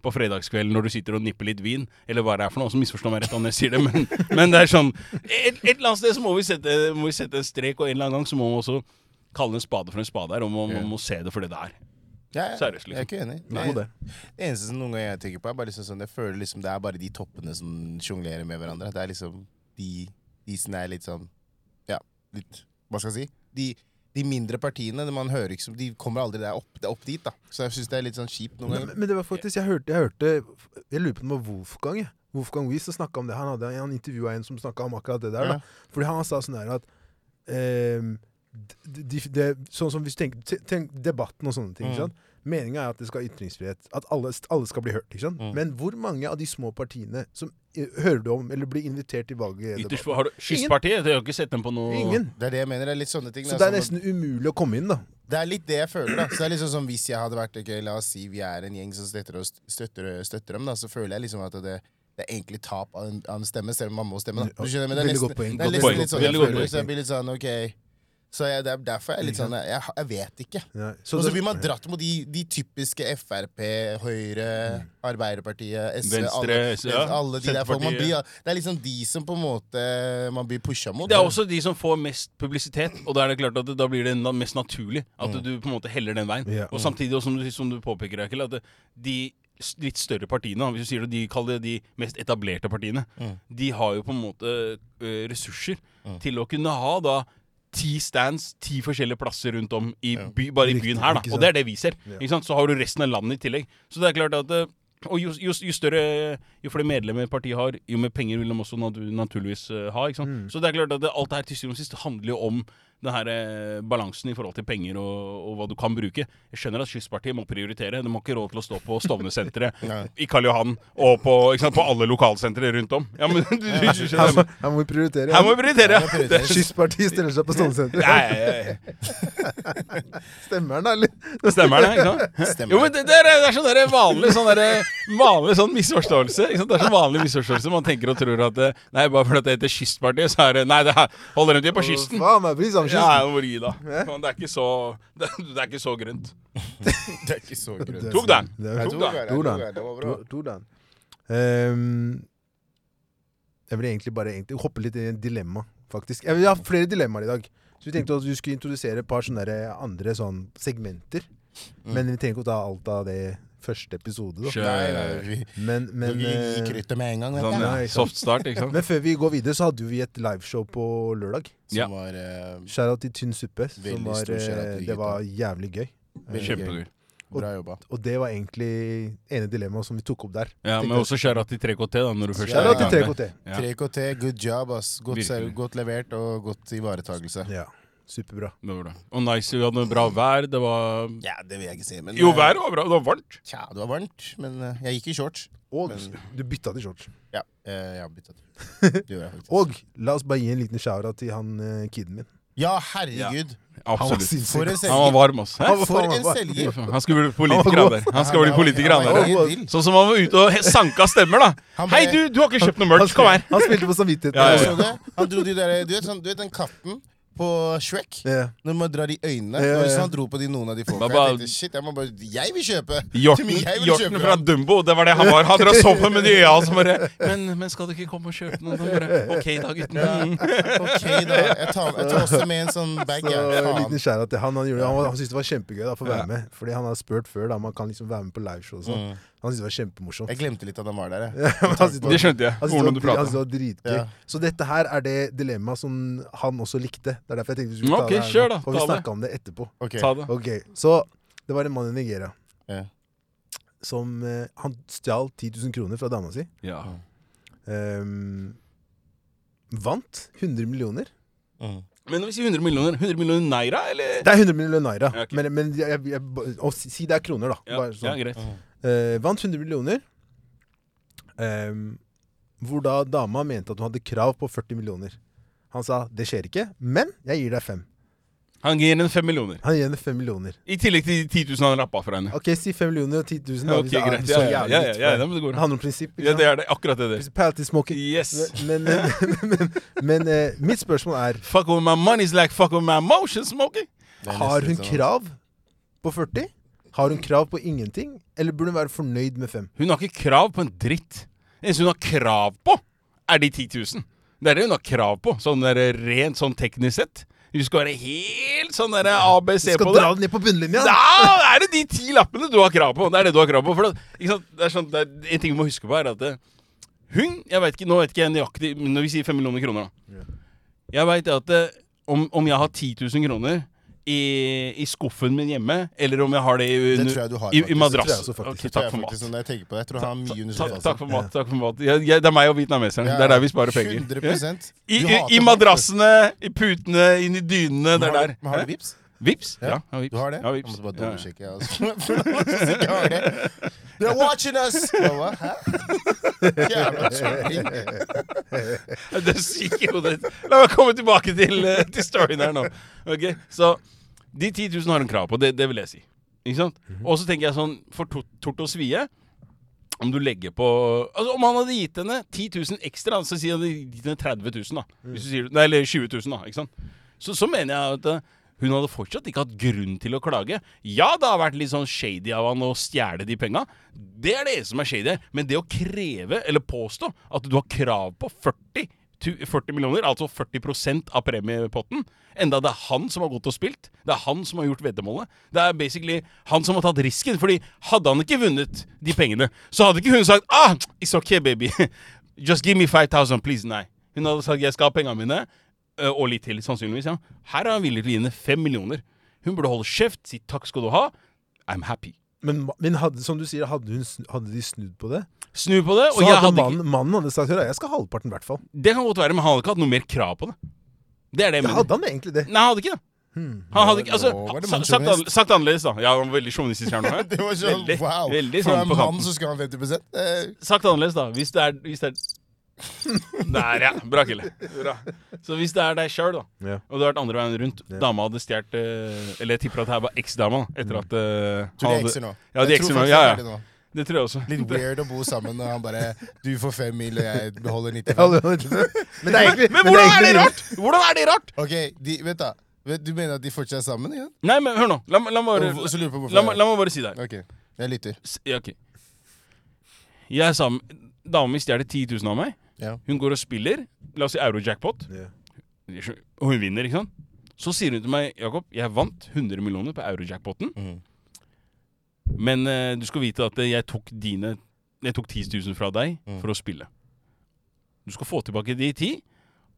på fredagskvelden når du sitter og nipper litt vin, eller hva det er for noe. Så misforstå meg rett om jeg sier det, men, men det er sånn et, et eller annet sted så må vi, sette, må vi sette en strek, og en eller annen gang så må vi også kalle en spade for en spade her, og man, man må se det for det det er.
Ja, ja.
Seriøst, liksom.
Jeg er ikke enig.
Nei, det.
Det eneste som noen ganger jeg tenker på, er bare liksom sånn Jeg føler liksom det er bare de toppene som sjonglerer med hverandre. Det er liksom de Isen er litt sånn Ja, litt Hva skal jeg si? De, de mindre partiene, det man hører ikke som De kommer aldri der opp, det er opp dit, da. Så jeg syns det er litt sånn kjipt noen
Nei,
ganger.
men- Men det var faktisk Jeg hørte Jeg, hørte, jeg lurer på om det var Wolfgang. Jeg. Wolfgang Wies som snakket om det. Han, hadde- han intervjua en som snakka om akkurat det der.
Ja.
Da. Fordi han sa sånn her at ehm, d- de, det- Sånn som hvis du tenker te- Tenk debatten og sånne ting.
Mm.
Mm. Meninga er at det skal ha ytringsfrihet. At alle, alle skal bli hørt. ikke sant?
Mm.
Men hvor mange av de små partiene som eh, hører du om, eller blir invitert til
Ytterst,
valgdebatten?
har du Skysspartiet? Jeg har ikke sett dem på noe
Ingen.
Det er det jeg mener. Det er litt sånne ting.
Så
da,
det er
sånn at-
nesten umulig å komme inn, da.
Det er litt det jeg føler. da Så det er liksom som Hvis jeg hadde vært ok, La oss si vi er en gjeng som støtter, oss, støtter, støtter dem, da så føler jeg liksom at det, det er egentlig tap av en, av en stemme, selv om man må stemme. da Du skjønner, men Det er
Veldig
nesten,
godt poeng.
det er nesten
poeng.
Godt
litt sånn jeg
Veldig godt
føler.
poeng.
Så jeg blir litt sånn ok Så jeg, det er derfor jeg er litt sånn Jeg, jeg vet ikke.
Ja.
Og så blir man dratt mot de, de typiske Frp, Høyre, Arbeiderpartiet, SV
Venstre,
alle,
SV, ja.
alle de der folk. Man blir,
Senterpartiet.
det er liksom de som på en måte man blir pusha mot.
Det er også de som får mest publisitet, og da er det klart at det, da blir det na- mest naturlig at du på en måte heller den veien.
Mm. Ja.
Og samtidig, også, som, du, som du påpeker, Eikel, at det- de s- litt større partiene, hvis du sier det, de kaller det de mest etablerte partiene,
Mm.
de har jo på en måte ø, ressurser til å kunne ha da ti stands, ti forskjellige plasser rundt om i by, bare i
Riktig,
byen her, da.
ikke
Og
sant?
det er det vi ser. Ikke sant? Så har du resten av landet i tillegg. Så det er klart at ø, og jo, jo, jo større Jo flere medlemmer partiet har, jo mer penger vil de også natu naturligvis eh, ha. Ikke sant? Så det er klart at det, alt det her til syvende og sist handler jo om den her eh, balansen i forhold til penger og, og hva du kan bruke. Jeg skjønner at Kystpartiet må prioritere. De har ikke råd til å stå på Stovner-senteret,
Nei.
i Karl Johan og på, ikke sant, på alle lokalsentre rundt om. Ja, men du, du, du
Her må,
skjønner.
her må vi prioritere.
Her må vi prioritere!
Jeg
ja.
prioriterer.
Skysspartiet stiller seg på Stålsenteret.
Nei, nei, nei.
Stemmer den, da, eller?
Stemmer det? ikke sant? Hæ?
Stemmer
Jo, men det, det, er, det er sånn der vanlig, sånn der, vanlig sånn misforståelse. Ikke sant? Det er sånn vanlig misforståelse Man tenker og tror at eh, Nei, bare fordi det heter Kystpartiet, så er det Nei, det her- holder dem til på kysten.
Faen meg, bry seg om
Ja,
kysten.
jeg må gi da. Men det er ikke så Det, det er ikke så grønt.
Det er ikke så grønt.
Tok den!
Det er-
Jeg
Tok
tok
den.
den, jeg
Jo
tok
da.
den, det var bra.
To- Tordan. Ehm, jeg vil egentlig bare egentlig hoppe litt i en dilemma, faktisk. Jeg vil ha flere dilemmaer i dag. Så vi tenkte at vi skulle introdusere et par sånne der andre sånn segmenter.
Mm.
Men vi trenger ikke å ta alt av det første episode. Da.
Nei, nei,
Kjør eh,
vi,
Men, men,
vi gir
eh,
kruttet med en gang. vet du.
sånn
Ja, ikke sant.
soft start, ikke sant?
men før vi går videre, så hadde jo vi et liveshow på lørdag.
Som
Ja.
var eh,
Shout-out til Tynn suppe.
Veldig
Som var,
stor shout-out
eh,
til
det var jævlig gøy.
veldig gøy.
Kjempegøy.
Bra jobba.
Og det var egentlig ene dilemmaet som vi tok opp der.
Ja, men også kjør til 3KT, da, når du først
Shout-out
Shout-out
i
til
gang.
3KT.
Ja.
3KT, good job, ass. Godt,
Virkelig.
serv- godt levert og godt ivaretagelse.
Ja, superbra.
Det var bra. Og nice, vi hadde bra vær. Det var
Ja, det vil jeg ikke si, men
Jo,
eh,
været var bra. Det var varmt.
Tja, det var varmt, men eh, jeg gikk i shorts.
Og
Men-
du bytta til shorts.
Ja, eh, jeg har byttet. Det gjorde jeg faktisk.
Og la oss bare gi en liten shout til han eh, kiden min.
Ja, herregud!
Han var
Absolutt.
For en
sinnssyk.
selger.
Han var varm, ass. Hæ?
var-
For
han
en
var-
selger!
Han skal bli politiker, han der. Han skal bli politiker, han
var
der.
helt vill.
Sånn som han var ute og he- sanka stemmer, da.
Han bare-
Hei, du, du har ikke kjøpt noe merch. Kom her.
Han spilte på samvittigheten.
Ja,
Jeg
ja,
så det. Han dro de der, du, vet, sånn, du vet den katten på Shrek?
Ja.
Når man drar i øynene.
Ja,
Det var
ja.
sånn han dro på de, noen av de folka.
Baba-
Jeg tenkte, shit, jeg må bare Jeg vil kjøpe!
Hjorten,
Jeg vil
hjorten
kjøpe
fra
den.
Dumbo, det var det han var. Han drev og så på med de øya som bare men, men skal du ikke komme og kjøpe noe? Da bare, ok da, gutten. Mm.
Ok, da. Jeg tar, jeg tar også med en sånn bag.
Så
jeg.
en
Faen.
liten shout til han. Han, gjorde, han, var- han syntes det var kjempegøy da, å få være med. Fordi han har spurt før da, man kan liksom være med på
Mm.
liveshow og sånn. Han syntes det var kjempemorsomt.
Mm. Jeg glemte litt at han var der. jeg.
Han
Det
syntes var-
skjønte jeg.
han syntes
Ordene du
det var- han
prata.
syntes det var dritgøy.
Ja.
Så dette her er det dilemmaet som han også likte. Det er derfor jeg tenkte vi
Mm,
skulle ta
ok,
det her.
kjør
nå,
da,
For vi
ta det.
snakka om det etterpå.
Ok.
Ta det.
Ok, Så det var en mann i Nigeria
Ja.
som eh, Han stjal 10 000 kroner fra dama si.
Ja.
Ehm, vant 100 millioner.
Mm.
Men når vi sier 100 millioner, 100 millioner naira, eller?
Det er 100 millioner naira,
Ja, ok.
men, men jeg, jeg, jeg, å si, si det er kroner, da.
Ja,
Bare sånn.
ja greit.
Eh, vant 100 millioner. Ehm, hvor da dama mente at hun hadde krav på 40 millioner. Han sa det skjer ikke, men jeg gir deg fem.
Han gir henne 5 millioner.
Han gir henne fem millioner.
I tillegg til de 10 000 han rappa fra henne.
Ok, si fem millioner og 10 000. da,
Ok,
hvis det er
greit.
så
Ja, ja,
jævlig
ja,
litt
ja, ja,
for
ja,
deg.
men det
Det
går.
handler om prinsipp. ikke
Ja, det
sant?
er det. Akkurat det der.
Principality smoking.
Yes.
Men, men, men, men eh, mitt spørsmål er
Fuck with my money's like fuck with my emotions, Smokey.
Det er
Har
nesten
hun
sånn.
krav på 40? Har hun krav på ingenting? Eller burde hun være fornøyd med 5?
Hun har ikke krav på en dritt. Det eneste hun har krav på, er de 10 000. Det er det hun har krav på, sånn der, rent sånn teknisk sett. Hun skal være helt sånn der ABC
Skal
på det.
dra det ned på bunnlinja?
Da er det de ti lappene du har krav på! Det er det du har krav på. For det, ikke sant? Det er sånn, det er, en ting vi må huske på, er at det, hun jeg vet ikke, Nå vet ikke jeg nøyaktig men Når vi sier 5 millioner kroner, da. Jeg veit at det, om, om jeg har 10 000 kroner i, i skuffen min hjemme, eller om jeg har det i,
Det tror jeg du har,
i,
faktisk.
i madrass
Det tror jeg også, faktisk.
Ok,
Det tror
Takk
jeg
for
faktisk,
mat.
når jeg tenker på det. Jeg tror han har mye under
Takk,
skjorta,
takk for
altså.
mat. takk for mat jeg, jeg, Det er meg og vietnameserne. Det er der vi sparer penger.
100% Du
I, i,
hater
I
mat,
madrassene, i putene, inn i dynene.
Men
Det
har
er der.
du- men Har
Hæ?
du vips?
Vips?
Ja,
Ja, jeg har vips.
Du har det?
Ja, vips.
Jeg måtte bare
Ja, ja.
dobbeltsjekke. jeg, Altså. They're watching us! Jeg bare, Hæ? Jævla tulling.
Ja, Det er syk i hodet ditt. La meg komme tilbake til, eh, til storyen her nå. Ok, Så de 10 000 har hun krav på, det, det vil jeg si. Ikke sant? Og så tenker jeg sånn, for Tor- Tort og Svie Om du legger på Altså Om han hadde gitt henne 10 000 ekstra, så sier han hadde gitt henne 30 000, da. Hvis du sier, nei, eller 20 000, da. Ikke sant? Så, så mener jeg at eh, hun hadde fortsatt ikke hatt grunn til å klage. Ja, det har vært litt sånn shady av han å stjele de penga. Det er det som er shady her. Men det å kreve, eller påstå, at du har krav på 40 tu- 40 millioner, altså 40 av premiepotten. Enda det er han som har gått og spilt. Det er han som har gjort veddemålet. Det er basically han som har tatt risken. Fordi hadde han ikke vunnet de pengene, så hadde ikke hun sagt ah, It's okay, baby. Just give me 5000, please. Nei. Hun hadde sagt jeg skal ha pengene mine, ø, og litt til, sannsynligvis. ja. Her er han villig til å gi henne fem millioner. Hun burde holde kjeft, si takk skal du ha. I'm happy.
Men, men hadde, som du sier, hadde, hun, sn- hadde de snudd på det?
Snu på det.
Så
Og jeg
hadde,
hadde ikke,
mannen, mannen hadde sagt at jeg skal ha halvparten i hvert fall.
det kan godt være, men han hadde ikke hatt noe mer krav på det. Det er det jeg
Ja,
mener.
hadde han egentlig det?
Nei, han hadde ikke det. Han hadde ikke,
Nå
altså,
Hmm. var det
sa-
mann
sagt,
sjåvinist.
annerledes- sagt annerledes, da. Ja, han var veldig sjåvinistisk her nå. hæ?
Det var sånn,
Veldig-
wow.
veldig
For
sånn
en
på
mann
kanten.
så skal han 50 eh,
Sagt annerledes, da. Hvis det er, hvis det er Der, ja. Bra, Kille. Bra. Så hvis det er deg sjøl, da,
Ja.
og du har vært andre veien rundt Dama hadde stjålet eh, Eller jeg tipper at det her var eksdama, da, etter at eh,
Tror Mm. de
han hadde-
ekser nå.
Ja, de
Jeg tror
ekser nå.
faktisk
Ja,
de er det
ja.
nå.
Det tror jeg også.
Litt weird å bo sammen og han bare Du får fem mil, og jeg beholder
Ja,
95.
det var ikke det. Men det er egentlig
Men
men
hvordan er det
egentlig-
rart?! Hvordan er det rart?!
Ok, de, vent da. Vet- Du mener at de fortsatt er sammen igjen?
Nei, men hør nå. La, meg- la, meg
Og så
bare,
lurer jeg på hvorfor.
la, meg- la meg bare si det her.
Ok, jeg lytter.
S- Ja, ok. Jeg er sammen Dama mi stjeler 10 000 av meg.
Ja.
Hun går og spiller. La oss si euro-jackpot.
Ja.
Og hun vinner, ikke sant? Så sier hun til meg Jakob, jeg vant 100 millioner på euro-jackpoten.
Mhm.
Men eh, du skal vite at eh, jeg tok dine Jeg tok 10 000 fra deg
Mhm.
for å spille. Du skal få tilbake de ti.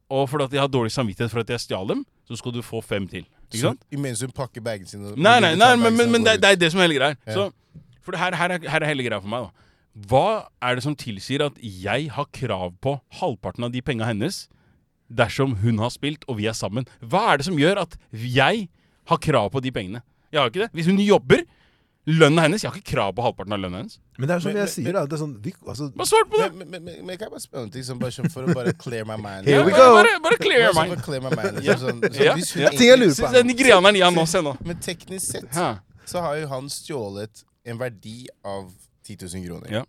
Og fordi at jeg har dårlig samvittighet for at jeg stjal dem, så skal du få fem til. Ikke sant?
Så, mens hun pakker bagene sine og-
Nei, nei, nei
tar
men,
bagene
men,
sine
men
og
det, er-
går
det er det som er hele greia.
Ja.
Så- For det her, her, er, her er hele greia for meg. da Hva er det som tilsier at jeg har krav på halvparten av de penga hennes dersom hun har spilt og vi er sammen? Hva er det som gjør at jeg har krav på de pengene? Jeg har ikke det. Hvis hun jobber Lønna hennes Jeg har ikke krav på halvparten av lønna hennes.
Men det er som
Men-
jeg sier, da. Det er sånn, vi, altså,
Bare svar på
ut.
det!
Men, men, men, men kan jeg bare spørre om en ting som bare, som for å bare clear my mind?
Here we
bare,
go.
Bare, bare clear your
Bare
mind.
for å clear my mind, liksom,
Ja.
sånn, så
Ja.
hvis hun
Ja.
egentlig-
Ting jeg lurer på.
Så- Den greneren gir han nå, se nå.
Men teknisk sett
Hæ.
så har jo han stjålet en verdi av 10 000 kroner.
Ja.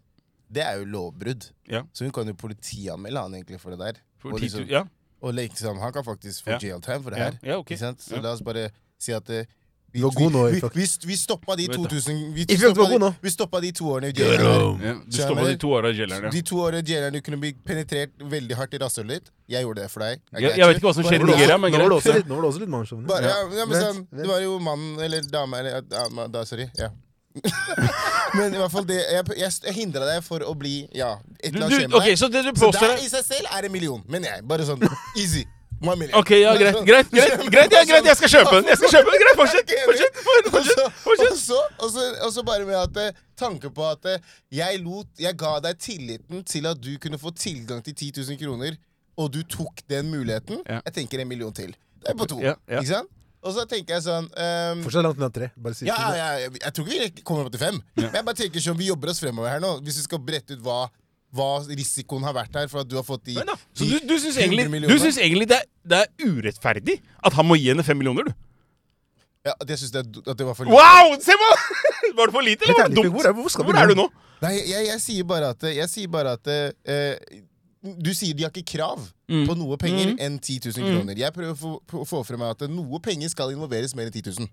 Det er jo lovbrudd.
Ja.
Så hun kan jo politianmelde han egentlig for det der.
For
og,
10
liksom,
000 ja.
og liksom, han kan faktisk få
Ja.
jail time for det
Ja,
her.
ja, ok.
ikke sant? Så
Ja.
la oss bare si at eh, vi,
Du var god nå,
vi,
Ifølge.
vi, vi stoppa de
Vet da.
2000 Vi
Ifølge
stoppa
var god
de,
nå.
vi stoppa de to årene i jaileren.
Ja, Du står på de to åra i jaileren, ja.
De to årene i jaileren du kunne bli penetrert veldig hardt i rasshølet ditt. Jeg gjorde det for deg. I
Jeg,
got
jeg vet
you.
ikke hva som skjer i
nå, var det
Nigeria,
også,
men
nå, var det også
greit.
litt, nå var det også litt mannssjåvinisme.
Bare, ja, ja, men
Vent,
sånn,
vent.
det var jo mann eller dame eller ja, dame, da, Sorry. Ja. men i hvert fall det Jeg, jeg, jeg hindra deg for å bli Ja, et
Du,
eller annet skjer
du,
med
ok,
deg.
så det du
Så
påstår
der
er-
i seg selv er en million, mener jeg. Bare sånn easy. my million.
Ok, ja, greit, greit, greit, greit, ja, greit, jeg skal kjøpe den! jeg skal kjøpe den, Greit, fortsett! fortsett, fortsett,
Og så-
fortsett, fortsett.
Og så, og så, og så bare med at eh, tanke på at eh, jeg lot Jeg ga deg tilliten til at du kunne få tilgang til 10 000 kroner, og du tok den muligheten.
Ja.
Jeg tenker en million til. Det er på to.
Ja, ja.
Ikke sant? Og så tenker jeg sånn ehm,
Fortsatt langt unna tre. Bare si
ja, ja, ja, jeg, jeg tror ikke vi rekker- kommer opp til fem. Men jeg bare tenker sånn, vi jobber oss fremover her nå. Hvis vi skal brette ut hva, hva risikoen har vært her for at du har fått de,
Men da, Så
de
du, du syns
100
egentlig, du
millionene.
syns egentlig det, er, det er urettferdig at han må gi henne fem millioner, du?
ja, at Jeg syns det, er- at det var for
Wow! Se på! Var det for lite, eller var det
Helt ærlig,
dumt?
hvor er- hvor skal vi
er
nå?
du nå?
Nei, jeg, jeg sier bare at, jeg sier bare at eh, Du sier de har ikke krav
Mm.
på noe penger enn 10 000 kroner. Jeg prøver å få, å få frem at noe penger skal involveres mer enn 10 000.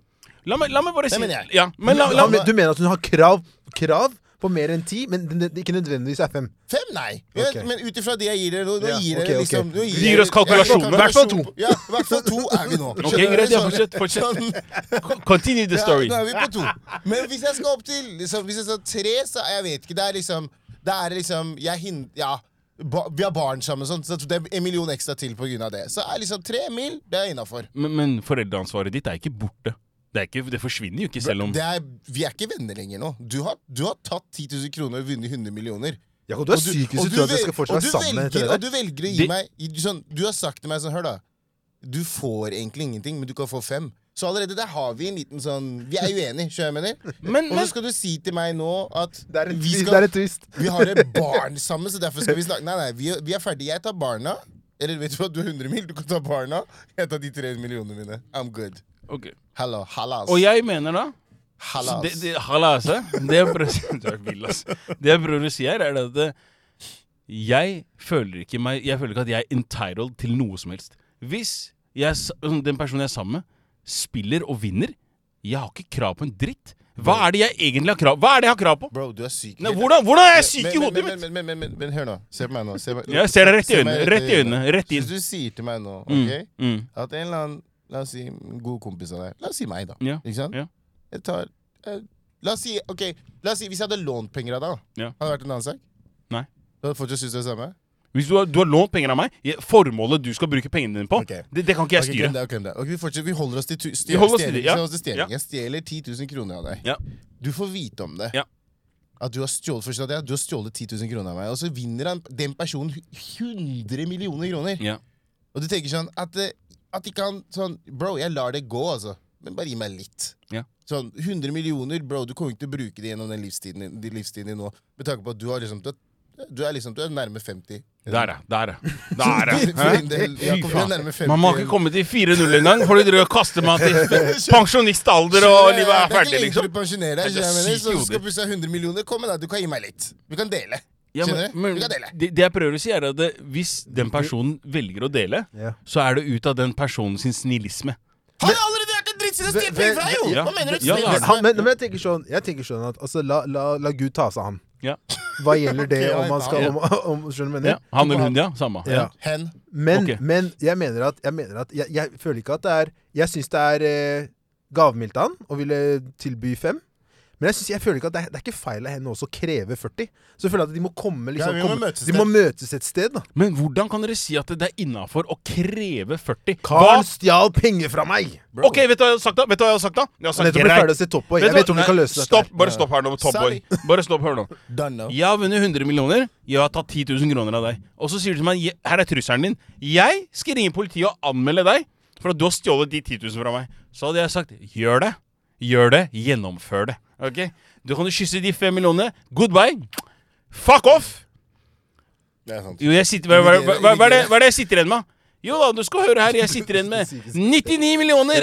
La meg, la meg bare si
mener jeg.
Ja, men la,
Han-
la,
men du mener at hun har krav, krav på mer enn ti, men det, det, ikke nødvendigvis er fem?
Fem, nei! Men-
Ok.
Men ut ifra det jeg gir dere, nå, nå
Ja,
gir dere
ok, ok.
liksom nå
Du gir oss kalkulasjoner.
Ja,
Hvert fall to.
Ja, i hvert fall to er vi nå.
Ok, greit, ja,
Skjønner
fortsett,
dere?
fortsett.
Sånn-
Continue the story.
Ja, nå er vi på to. Men hvis jeg skal opp til liksom, Hvis jeg skal tre, så jeg vet ikke. Det er liksom Det er liksom Jeg hin- Ja. Ba, vi har barn sammen, sånn, så det er en million ekstra til pga. det. Så er liksom tre mil det er innafor.
Men, men foreldreansvaret ditt er ikke borte. Det, er ikke, det forsvinner jo ikke selv om
Vi er ikke venner lenger nå. Du har, du har tatt 10 000 kroner og vunnet 100 millioner.
Jakob, du er syk hvis du tror at jeg skal fortsatt være sammen med
velger,
dette
og
der.
du velger å gi
Det-
meg i- sånn, Du har sagt til meg sånn Hør, da. Du får egentlig ingenting, men du kan få fem. Så allerede der har vi en liten sånn Vi er uenige, skjønner du hva jeg mener?
Men,
Og så
men
skal du si til meg nå at
Det er en,
vi,
det
skal,
er en twist.
vi har et barn sammen, så derfor skal vi snakke Nei, nei, vi, vi er ferdige. Jeg tar barna. Eller vet du hva, du er 100 mil, du kan ta barna. Jeg tar de 300 millionene mine. I'm good.
ok.
Hallo, halas.
Og jeg mener da
halas.
det, det, Halas. eh? Det jeg prøver å si- Du er vill, ass. Det jeg prøver å si her, er det at det, jeg føler ikke meg Jeg føler ikke at jeg er entitled til noe som helst. Hvis jeg, s- den personen jeg er sammen med, spiller og vinner Jeg har ikke krav på en dritt. Hva er det jeg egentlig har krav Hva er det jeg har krav på?
Bro, du er syk. i
Nei,
hodet.
hvordan, hvordan er jeg
Men-
syk i
men-
hodet
men-
mitt?
Men, men, men, men, men hør nå. Se på meg nå. Se meg,
Jeg ser deg rett i
se meg
øynene. Rett i øynene. Rett
Hvis
inn.
du sier til meg nå,
Mm,
ok,
mm.
at en eller annen La oss si en god kompis av deg. La oss si meg, da.
Ja,
Ikke sant?
ja.
Jeg tar eh, La oss si ok, la oss si Hvis jeg hadde lånt penger av deg, da,
Ja.
hadde det vært en annen sak?
Nei.
Du hadde fortsatt syntes det er det samme?
Hvis du har, du har lånt penger av meg, jeg- formålet du skal bruke pengene dine på,
Ok.
det, det kan ikke jeg
Ok,
styre.
glem det, ok, glem det. Ok, vi, fortsetter, vi holder oss til tu-
Vi holder oss til
stjeling,
det, ja.
så holder oss til stjeling.
Ja.
Jeg stjeler 10 000 kroner av deg.
Ja.
Du får vite om det.
Ja.
At du har stjålet fortsatt, ja, du har stjålet 10 000 kroner av meg, og så vinner han, den personen hu- 100 millioner kroner.
Ja.
Og du tenker sånn at, eh, at ikke han sånn Bro, jeg lar det gå, altså. Men bare gi meg litt.
Ja.
Sånn 100 millioner, bro, du kommer ikke til å bruke det gjennom den livstiden, din- din livstiden din nå. Med tanke på at du har liksom Du er, du er, liksom, du er nærme 50.
Der, ja. Der, ja. Der, ja.
For din del,
Fy
Jakob, du er
faen.
nærme 50.
Man må ikke komme til 4-0 engang, for de driver og kaster meg til pensjonistalder,
Ja,
og
ja,
livet er
Det er
ferdig,
ikke lenge
liksom.
til du pensjonerer
Det
deg.
er
skjønner
så
jeg mener,
sykt
Så
i
du
hodet.
skal plutselig ha 100 millioner. Kom med deg, du kan gi meg litt. Vi kan dele.
Ja,
Skjønner
men,
du?
men,
Vi kan dele.
det, det jeg prøver å si, er at det, hvis den personen velger å dele,
Ja.
så er det ut av den personen sin snillisme.
Har jeg allerede vært en drittsekk og
Ve-
stjålet penger fra deg,
ve-
jo! Hva mener du?
Ja, ja,
Snillest
Han,
meg.
men, men jeg tenker sånn, jeg tenker sånn at altså, la, la, la Gud ta seg av ham.
Ja.
Hva gjelder det
Ok,
om man skal
ja.
om, om, Skjønner du hva jeg
Ja.
mener?
Han eller hun, ja. Samme.
Ja.
Ja.
Hen.
Men,
Ok.
men jeg mener at, jeg, mener at jeg, jeg føler ikke at det er Jeg syns det er eh, gavmildt av han å ville tilby fem. Men jeg, synes, jeg føler ikke at det er, det er ikke feil av henne også å kreve 40. Så jeg føler at de må komme
Ja,
liksom,
vi må
komme,
møtes
De må møtes et sted. da
Men hvordan kan dere si at det er innafor å kreve 40?
Carl stjal penger fra meg!
Bro.
Ok, vet du hva jeg har sagt da? Vet du hva jeg har sagt da? Jeg har
Jeg
sagt
nettopp ble
greit.
ferdig å se Top
Vet
Boy. Jeg
du hva?
vet om du kan
Nei,
løse
Stopp,
dette.
bare stopp her nå, Top Boy. Bare stopp her nå.
Done now.
Jeg har vunnet 100 millioner, jeg har tatt 10 000 kroner av deg. Og så sier du til meg, "Je- her er trusselen din. Jeg skal ringe politiet og anmelde deg for at du har stjålet de 10 000 fra meg. Så hadde jeg sagt, gjør det. Gjør det. Gjennomfør det. Ok? Du kan jo kysse de 5 millionene. Goodbye. Fuck off!
Det er sant.
Jo, jeg sitter, hva, hva, hva, hva, hva, er det, hva er det jeg sitter igjen med? Jo da, du skal høre her. Jeg sitter igjen med 99 millioner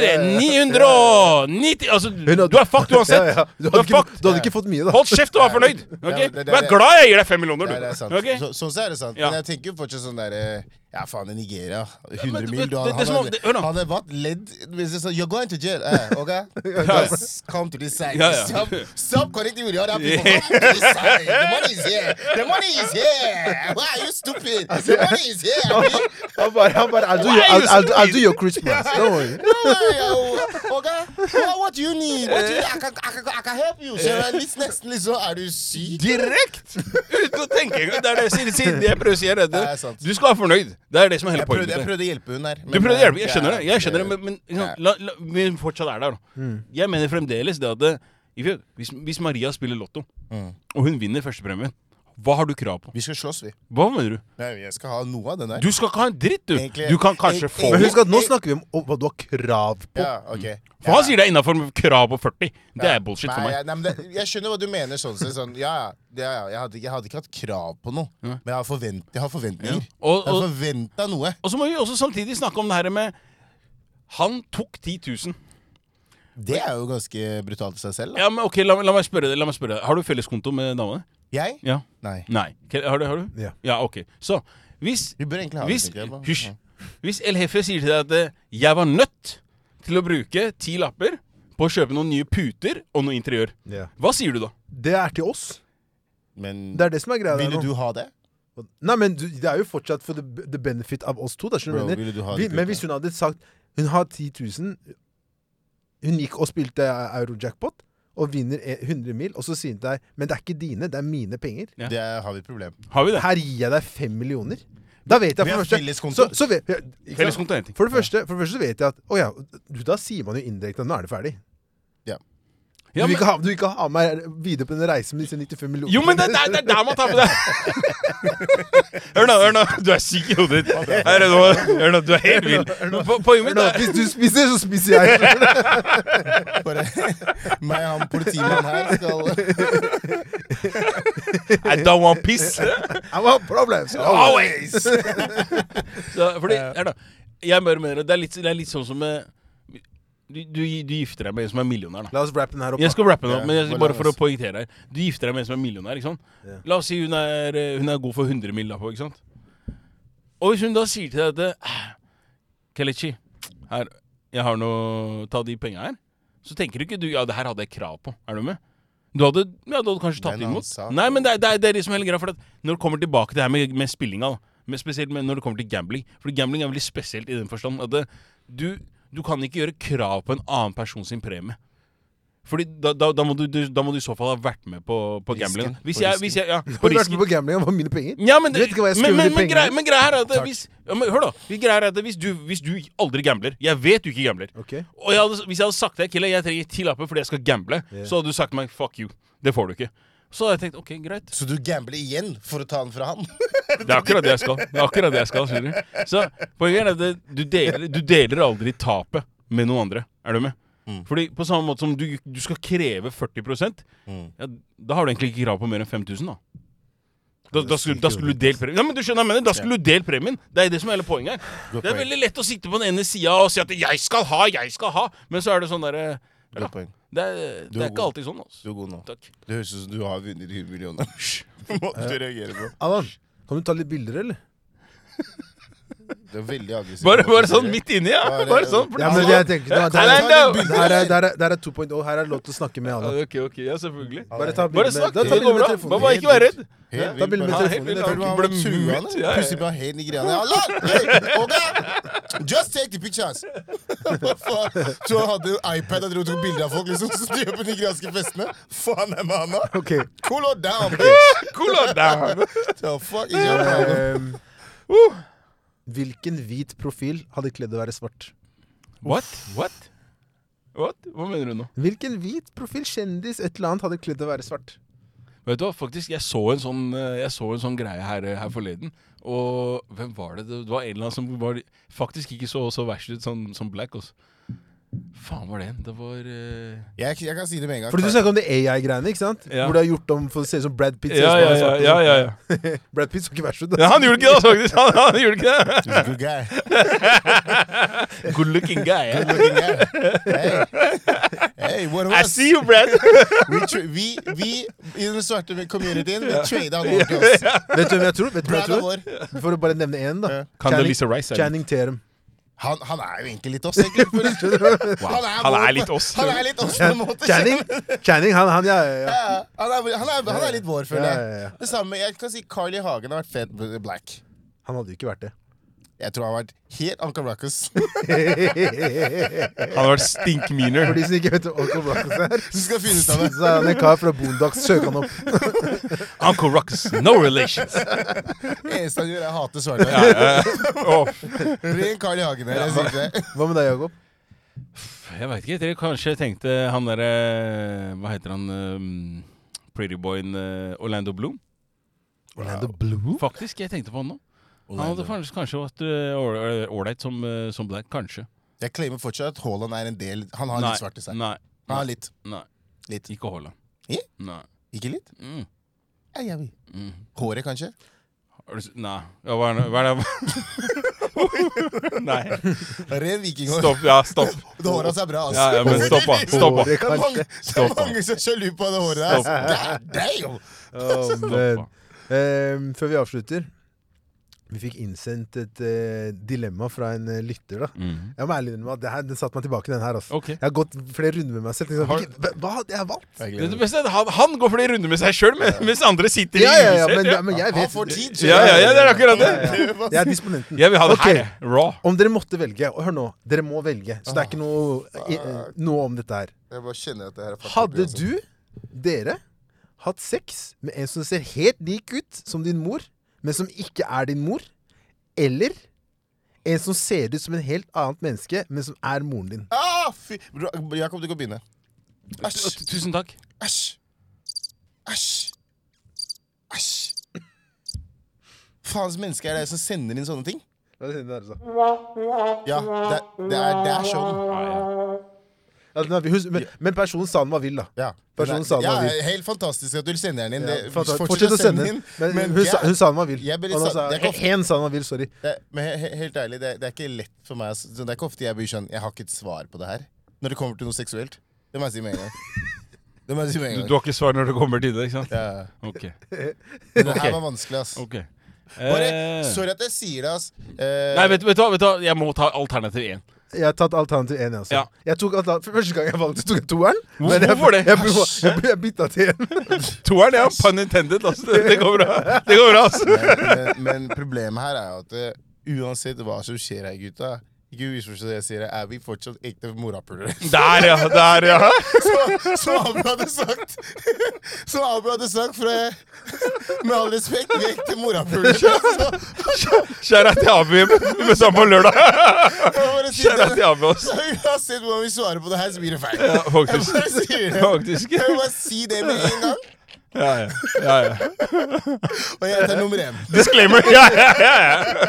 990 Altså, du er fucked uansett.
Ja, ja. Du,
Du
hadde
er
ikke,
fucked.
du hadde ikke fått mye, da.
Hold kjeft og vær fornøyd. ok?
Ja, det- det-
Vær glad jeg gir deg fem millioner,
Nei, det er
du.
sant.
Ok?
Så, sånn så er det sant.
Ja.
Men jeg tenker jo fortsatt sånn derre Ja, faen, i Nigeria. 100
men du-
mil. Du, han,
det- det er som om- det- hør nå.
han hadde vært ledd hvis jeg sa You're going to jail. Eh, ok? Just come to this side.
Ja, ja.
Stop, stop correcting with the other people. Come to this side. The money is here. The money is here. Why are you stupid? The money is here. man.
Han bare, han bare I'll do,
Why
your,
are you
I'll, I'll, I'll do
stupid?
your Christmas. Don't worry.
No worry, oh, okay? What, what do you need? What do you need? I can, I can, I can help you. So, uh, listen, listen, listen. Er du syk?
Direkt! Uten å tenke tenke engang! Det er det, siden- siden jeg prøver å si jeg redder.
Det er sant.
Du skal være fornøyd. Det er det som er hele
Jeg prøvde, jeg
poenget.
prøvde å hjelpe hun her.
Du
men,
prøvde å
eh,
hjelpe, jeg skjønner det. jeg skjønner det, Men, men ikke sant, la, la, vi fortsatt er der, da.
Mm.
Jeg mener fremdeles det at det, if- hvis, hvis Maria spiller Lotto,
Mm.
og hun vinner førstepremien, hva har du krav på?
Vi skal slåss, vi.
Hva mener du?
Nei, jeg skal ha noe av den der.
Du skal ikke ha en dritt, du!
Egentlig-
Du kan kanskje
Egentlig-
få
Men husk at nå
Jeg-
snakker vi om om hva du har krav på.
Ja, ok.
For han sier det er innafor krav på 40. Det er bullshit
nei,
for meg.
jeg- Nei, men det, jeg skjønner hva du mener. sånn sett. Sånn, ja, ja, det- ja, ja, jeg, hadde, ikke- jeg hadde ikke hatt krav på noe, men jeg har, forvent, jeg har forventninger.
Ja. Og-
jeg
og-
har forventa noe.
Og så må vi også samtidig snakke om det her med Han tok 10 000.
Det er jo ganske brutalt i seg selv. Da.
Ja, men ok, la, la meg spørre deg. La meg spørre deg. Har du felleskonto med damene?
Jeg?
Ja.
Nei.
Nei. Ke- Har du? Har du?
Ja.
ok. Så hvis
Vi bør egentlig ha
hvis,
det. tenker jeg, bare.
Hysj.
Ja.
Hvis El Hefe sier til deg at eh, 'jeg var nødt til å bruke ti lapper på å kjøpe noen nye puter og noe interiør',
Ja.
hva sier du da?
Det er til oss.
Men
Det er det som er greia der
ville
nå.
du ha det?
Nei, men du, det er jo fortsatt for the, the benefit av oss to. Da, skjønner
Bro,
du hva jeg
ville du ha
mener?
det
Vi, men
kult,
hvis hun hadde sagt Hun har 10 000 Hun gikk og spilte euro-jackpot og vinner e- 100 mil, og så sier hun til deg Men det er ikke dine, det er mine penger.
Ja.
Det har vi et problem.
Har vi det?
Her gir jeg deg 5 millioner. Da vet jeg
Vi
for
har
det første
felleskonto.
så, så vet, ja, ikke sant?
Felleskonto er en ting.
For det første, for det første så vet jeg at Å ja, du, da sier man jo indirekte at nå er det ferdig.
Ja,
du, vil
men,
ikke ha, du vil ikke ha meg videre på den reisen med disse 95 millionene.
jo, men det, det, er- det er der man tar med det! Hør nå, hør nå. Du er syk i hodet ditt. Hør nå, hør nå, du er helt vill. Po- Poenget mitt
Nå,
er
Hvis du spiser, så spiser jeg.
Bare meg og han politimannen her skal
I don't want piss.
I want problems.
Always! så, fordi, her da, jeg bare mener, det er litt, det er litt sånn som eh, du, du, du gifter deg med en som er millionær, da.
La oss wrappe den her opp.
Jeg skal rappe den opp,
Ja,
men jeg,
hvor
bare
lang
for å
er-
poengtere her. Du gifter deg med en som er millionær, ikke sant?
Ja.
La oss si hun er, eh, hun er god for 100 mill. da på, ikke sant? Og hvis hun da sier til deg at eh, Kelechi, her, jeg har noe Ta de penga her. Så tenker ikke du ja, det her hadde jeg krav på. Er du med? Du hadde, ja, du hadde kanskje
Det er en
tatt det
annen
imot.
sak.
Nei, men det er, det er, det er liksom hele greia. For at når det kommer tilbake til det her med, med spillinga, da, men spesielt med, når det kommer til gambling For gambling er veldig spesielt i den forstand at det, du, du kan ikke gjøre krav på en annen person sin premie. Fordi da, da, da, må du, du, da må du i så fall ha vært med på, på gamblingen. Hvis
på
jeg,
risken.
hvis jeg, ja,
Har
på
du vært
risken.
med på gambling om mine penger?
Ja, men,
Du vet ikke hva jeg
men,
skrev
men,
de
men,
pengene.
greia, men greia er at
Takk.
hvis, ja, men, Hør da, hvis, greia er at hvis, du, hvis du aldri gambler Jeg vet du ikke gambler
Ok.
Og jeg hadde, hvis jeg hadde sagt til deg Kille, jeg trenger ti lapper fordi jeg skal gamble
Ja.
Så hadde du sagt til meg, fuck you, det får du ikke Så hadde jeg tenkt, ok, greit
Så du gambler igjen for å ta den fra han?
Det er akkurat det jeg skal Det er akkurat det jeg skal, skjønner du Så poenget er at det, du, deler, du deler aldri tapet med noen andre Er du med?
Mm.
Fordi på samme måte som du, du skal kreve 40%
Mm.
ja, Da har du egentlig ikke krav på mer enn 5000 da da, da, skulle, da skulle du delt premien. Ja, men du skjønner hva jeg mener. Da skulle du delt premien. Det er det som er hele poenget her. Det er
poeng.
veldig lett å sitte på den ene sida og si at 'jeg skal ha, jeg skal ha', men så er det sånn derre ja,
Godt poeng.
det, er- det
er
er ikke
god.
alltid sånn, altså.
Du er god nå.
Takk.
Det høres ut som du har vunnet 100 millioner. Måten du reagerer på.
Allan, kan du ta litt bilder, eller?
Det er veldig aggressivt.
Bare, bare sånn midt inni, ja.
Bare-
Bare sånn.
Ja, men jeg tenker, nå, der,
Nei,
er-
nei, no.
der, er, der, er, der er 2.0. Her er det lov til å snakke med Allan.
Ja, ok, ok, ja, selvfølgelig.
Bare ta bilder
Bare
med,
snakk,
da,
det går
ta bilder med
bra.
telefonen.
Bare ikke vær redd.
Helt
Ta bilder med
bare-
telefonen.
Jeg
Ja,
Det
føler meg han
helt Ble
er bra.
var truende.
muet, ja, ja.
Plutselig ble han helt nigerianer. Hallo! Hey, Olga! Just take the pictures! Hva faen? Tror han hadde iPad og dro og tok bilder av folk liksom, som styrer på de nigerianske festene? Faen er med han da?
Ok.
Cool it down, bitch!
Cool on down.
The fuck is your problem?
Ehm,
Uh.
hvilken hvit profil hadde kledd å være svart?
What? What? What? Hva mener du nå?
Hvilken hvit profil, kjendis, et eller annet hadde kledd å være svart?
Vet du hva, faktisk, jeg så en sånn, eh, jeg så en sånn greie her, eh, her forleden. Og hvem var det? Det var en eller annen som var, faktisk ikke så så verst ut som, som Black. Også. Faen var det en? Det var eh,
Jeg, jeg kan si det med en gang.
Fordi du snakker om det AI-greiene, ikke sant?
Ja.
Hvor det er gjort om for å se ut som Brad Pitt. ser ut
ja,
som
ja,
han er
ja,
svart, og
ja,
sånn.
ja, ja.
Brad Pitt så ikke verst ut. da.
ja. Han gjorde ikke det, altså, faktisk! Han, han gjorde ikke det.
He's a good guy.
Good looking guy.
Good
eh.
looking guy. Hey. Hey, what
I
was?
see you, Brad!
We, tra- vi, vi i den svarte communityen, vi trada han over til oss.
Vet du hvem jeg tror? Vet du hvem jeg
Brad er
tror?
vår.
For å bare nevne én, da.
Condoleezza Rice, er det?
Channing Terum.
Han, han er jo egentlig litt oss, egentlig. for å- Han er,
Han
vår-
er litt oss.
Han er litt oss på en måte.
Channing, Channing han, han ja, ja, ja.
Ja, ja. han, er, han, er, han er litt vår, føler
Ja, ja, ja.
jeg. Det samme, jeg kan si Carl I. Hagen har vært fet black.
Han hadde jo ikke vært det.
Jeg tror han har vært helt Uncle Ruckus.
Han har vært stinkminer.
For de som ikke vet hva Uncle Ruckus er,
Du skal finne ut av det.
så er han en kar fra Boondocks. Søk han opp.
Uncle Ruckus, no relations.
Eneste han gjør, er å hate svarte. Bring Carl I. Hagen her, jeg sier det.
Hva med deg, Jakob?
Jeg veit ikke. Dere kanskje tenkte han derre Hva heter han um, Prettyboyen eh, Orlando Bloom?
Orlando Blue?
Faktisk, jeg tenkte på han nå. Han hadde faktisk kanskje vært eh, ål- eh, ålreit som, eh, som black. Kanskje.
Jeg claimer fortsatt at Haaland er en del Han har litt svart i seg.
nei,
Han har litt.
nei.
Litt.
Ikke Haaland.
Ja?
Nei.
Ikke litt?
Mm.
Ja, jeg vil.
Mm.
Håret, kanskje?
Har du s- Nei. Ja, hva er det- hva er det Nei.
Ren vikinghår.
Stopp, ja, stopp.
Det Håret hans er bra, ass.
Ja, ja, men stopp, da. Stopp, da.
Det er mange, det er
Stopp, da.
mange som er sjalu på det håret
Stopp.
der. Damn!
Å,
da.
men. Ehm, før vi avslutter Vi fikk innsendt et eh, dilemma fra en eh, lytter. da
Mhm.
Jeg må ærlig innrømme at det her, Den satte meg tilbake, den her. Altså.
Ok.
Jeg har gått flere runder med meg selv. Liksom,
Har-
hvilke- hva- hva hadde jeg valgt?
Det er det beste, han, han går flere runder med seg sjøl, mens andre sitter
Ja, ja, ja,
huset,
men,
ja.
ja, men jeg
Han
vet
får tid.
Ja, ja, ja, det er akkurat det.
Jeg er disponenten.
Jeg vil ha det
Ok.
her. Raw.
Om dere måtte velge og Hør nå, dere må velge. Så det er ikke noe, i-
Ah.
eh, noe om dette her.
Jeg bare kjenner at det her er faktisk-
Hadde du, dere, hatt sex med en som ser helt lik ut som din mor, men som ikke er din mor? Eller en som ser ut som en helt annet menneske, men som er moren din?
ah, fy. Bro, Jakob, du kan begynne. Æsj.
Tu- Tusen takk.
Æsj. Æsj. Æsj. Faens menneske er det som sender inn sånne ting?
La oss si det der, altså.
Ja, det, det, er, sånn. det er showen.
Ja, ja.
Ja, den er- husk- Men, men personen sa den var vill, da.
Ja. eh,
Personen sa den
ja,
var vill.
helt fantastisk at du sender den inn.
Ja,
Det,
fortsett, fortsett å sende den. Men, hun, sa,
jeg-
hun sa den var vill.
jeg blir litt
Og nå
sa-
sa-
det er ikke ofte-
Hen sa den var vill, sorry.
det, men he, he- helt ærlig, det, det er ikke lett for meg. ass. Det er ikke ofte jeg blir sånn Jeg har ikke et svar på det her. Når det kommer til noe seksuelt. Det må jeg si med en gang. Det må jeg si med
Du,
en
du
gang.
har ikke svar når det kommer til det, ikke sant?
Ja.
Ok.
Men det
Ok.
her var vanskelig, ass.
ok
Bare,
Eh,
sorry at jeg sier det, ass. Eh,
Nei, vet, vet, du hva, vet du hva, jeg må ta alternativ én.
Jeg har tatt alternativ én, altså.
Ja.
Jeg tok altern- for første gang jeg valgte, tok jeg toeren.
Hvor-
men jeg,
hvorfor det?
Jeg, jeg, jeg, jeg bytta til en.
Toeren, ja. Pun intended. Altså, det, det går bra. Det går bra, altså.
men, men problemet her er jo at eh, uansett hva som skjer her, gutta Ikke misforstå det jeg sier, er vi fortsatt ekte morapulere.
Der, ja. Der, ja.
Så- Som Abu hadde sagt Som Abu hadde sagt fra, Med all respekt, vi er ekte morapulere. Så-
Kjære til Abu. Vi møtes sammen på lørdag.
jeg bare sier
Kjære
det.
til Abu, altså.
Så Uansett hvordan vi svarer på det her, så blir det feil.
Ja,
Jeg
faktisk.
bare sier det.
Faktisk.
Jeg vil bare si det med en gang,
Ja, ja. ja, ja.
og jeg tar nummer én.
Disclaimer. Ja, ja, ja.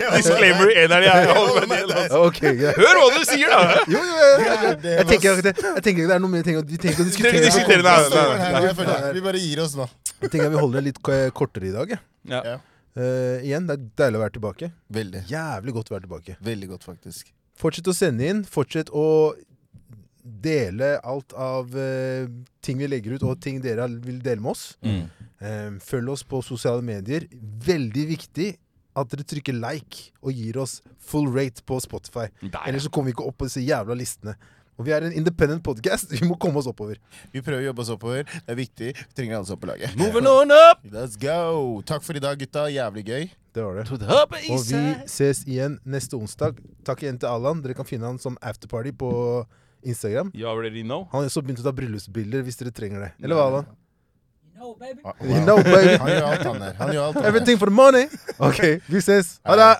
ja. Disclaimer eneren, ja. ja.
holder meg der.
Ok, greit.
Hør hva du sier, da.
Jo, jo, jo, jo.
Ja, det
Jeg
var-
tenker ikke det, jeg tenker ikke det er noe mer ting å, vi trenger ikke å
Dere diskuterer
diskutere.
det.
Jeg står
nei,
her nå, jeg føler- Vi bare gir oss nå.
Jeg tenker vi holder det litt k- kortere i dag. jeg.
Ja.
Ja.
Eh, igjen, det er deilig å være tilbake.
Veldig.
Jævlig godt å være tilbake.
Veldig godt, faktisk.
Fortsett å sende inn. Fortsett å dele alt av eh, ting vi legger ut, og ting dere vil dele med oss.
Mm.
Eh, følg oss på sosiale medier. Veldig viktig at dere trykker like og gir oss full rate på Spotify.
Der, ja.
Ellers så kommer vi ikke opp på disse jævla listene. Og vi er en independent podcast. Vi må komme oss oppover.
Vi prøver å jobbe oss oppover. Det er viktig. Vi trenger alle som er på laget.
Moving on up
Let's go! Takk for i dag, gutta. Jævlig gøy.
Det var det.
to the upper
Og
east
vi
side.
ses igjen neste onsdag. Takk igjen til Allan. Dere kan finne han som afterparty på Instagram.
You already know.
Han har også begynt å ta bryllupsbilder hvis dere trenger det. Eller hva, Allan?
No, baby.
Wow.
You know, baby.
Han gjør alt, han der. Han gjør alt, han der.
Everything for the money! OK, vi ses. Ha det!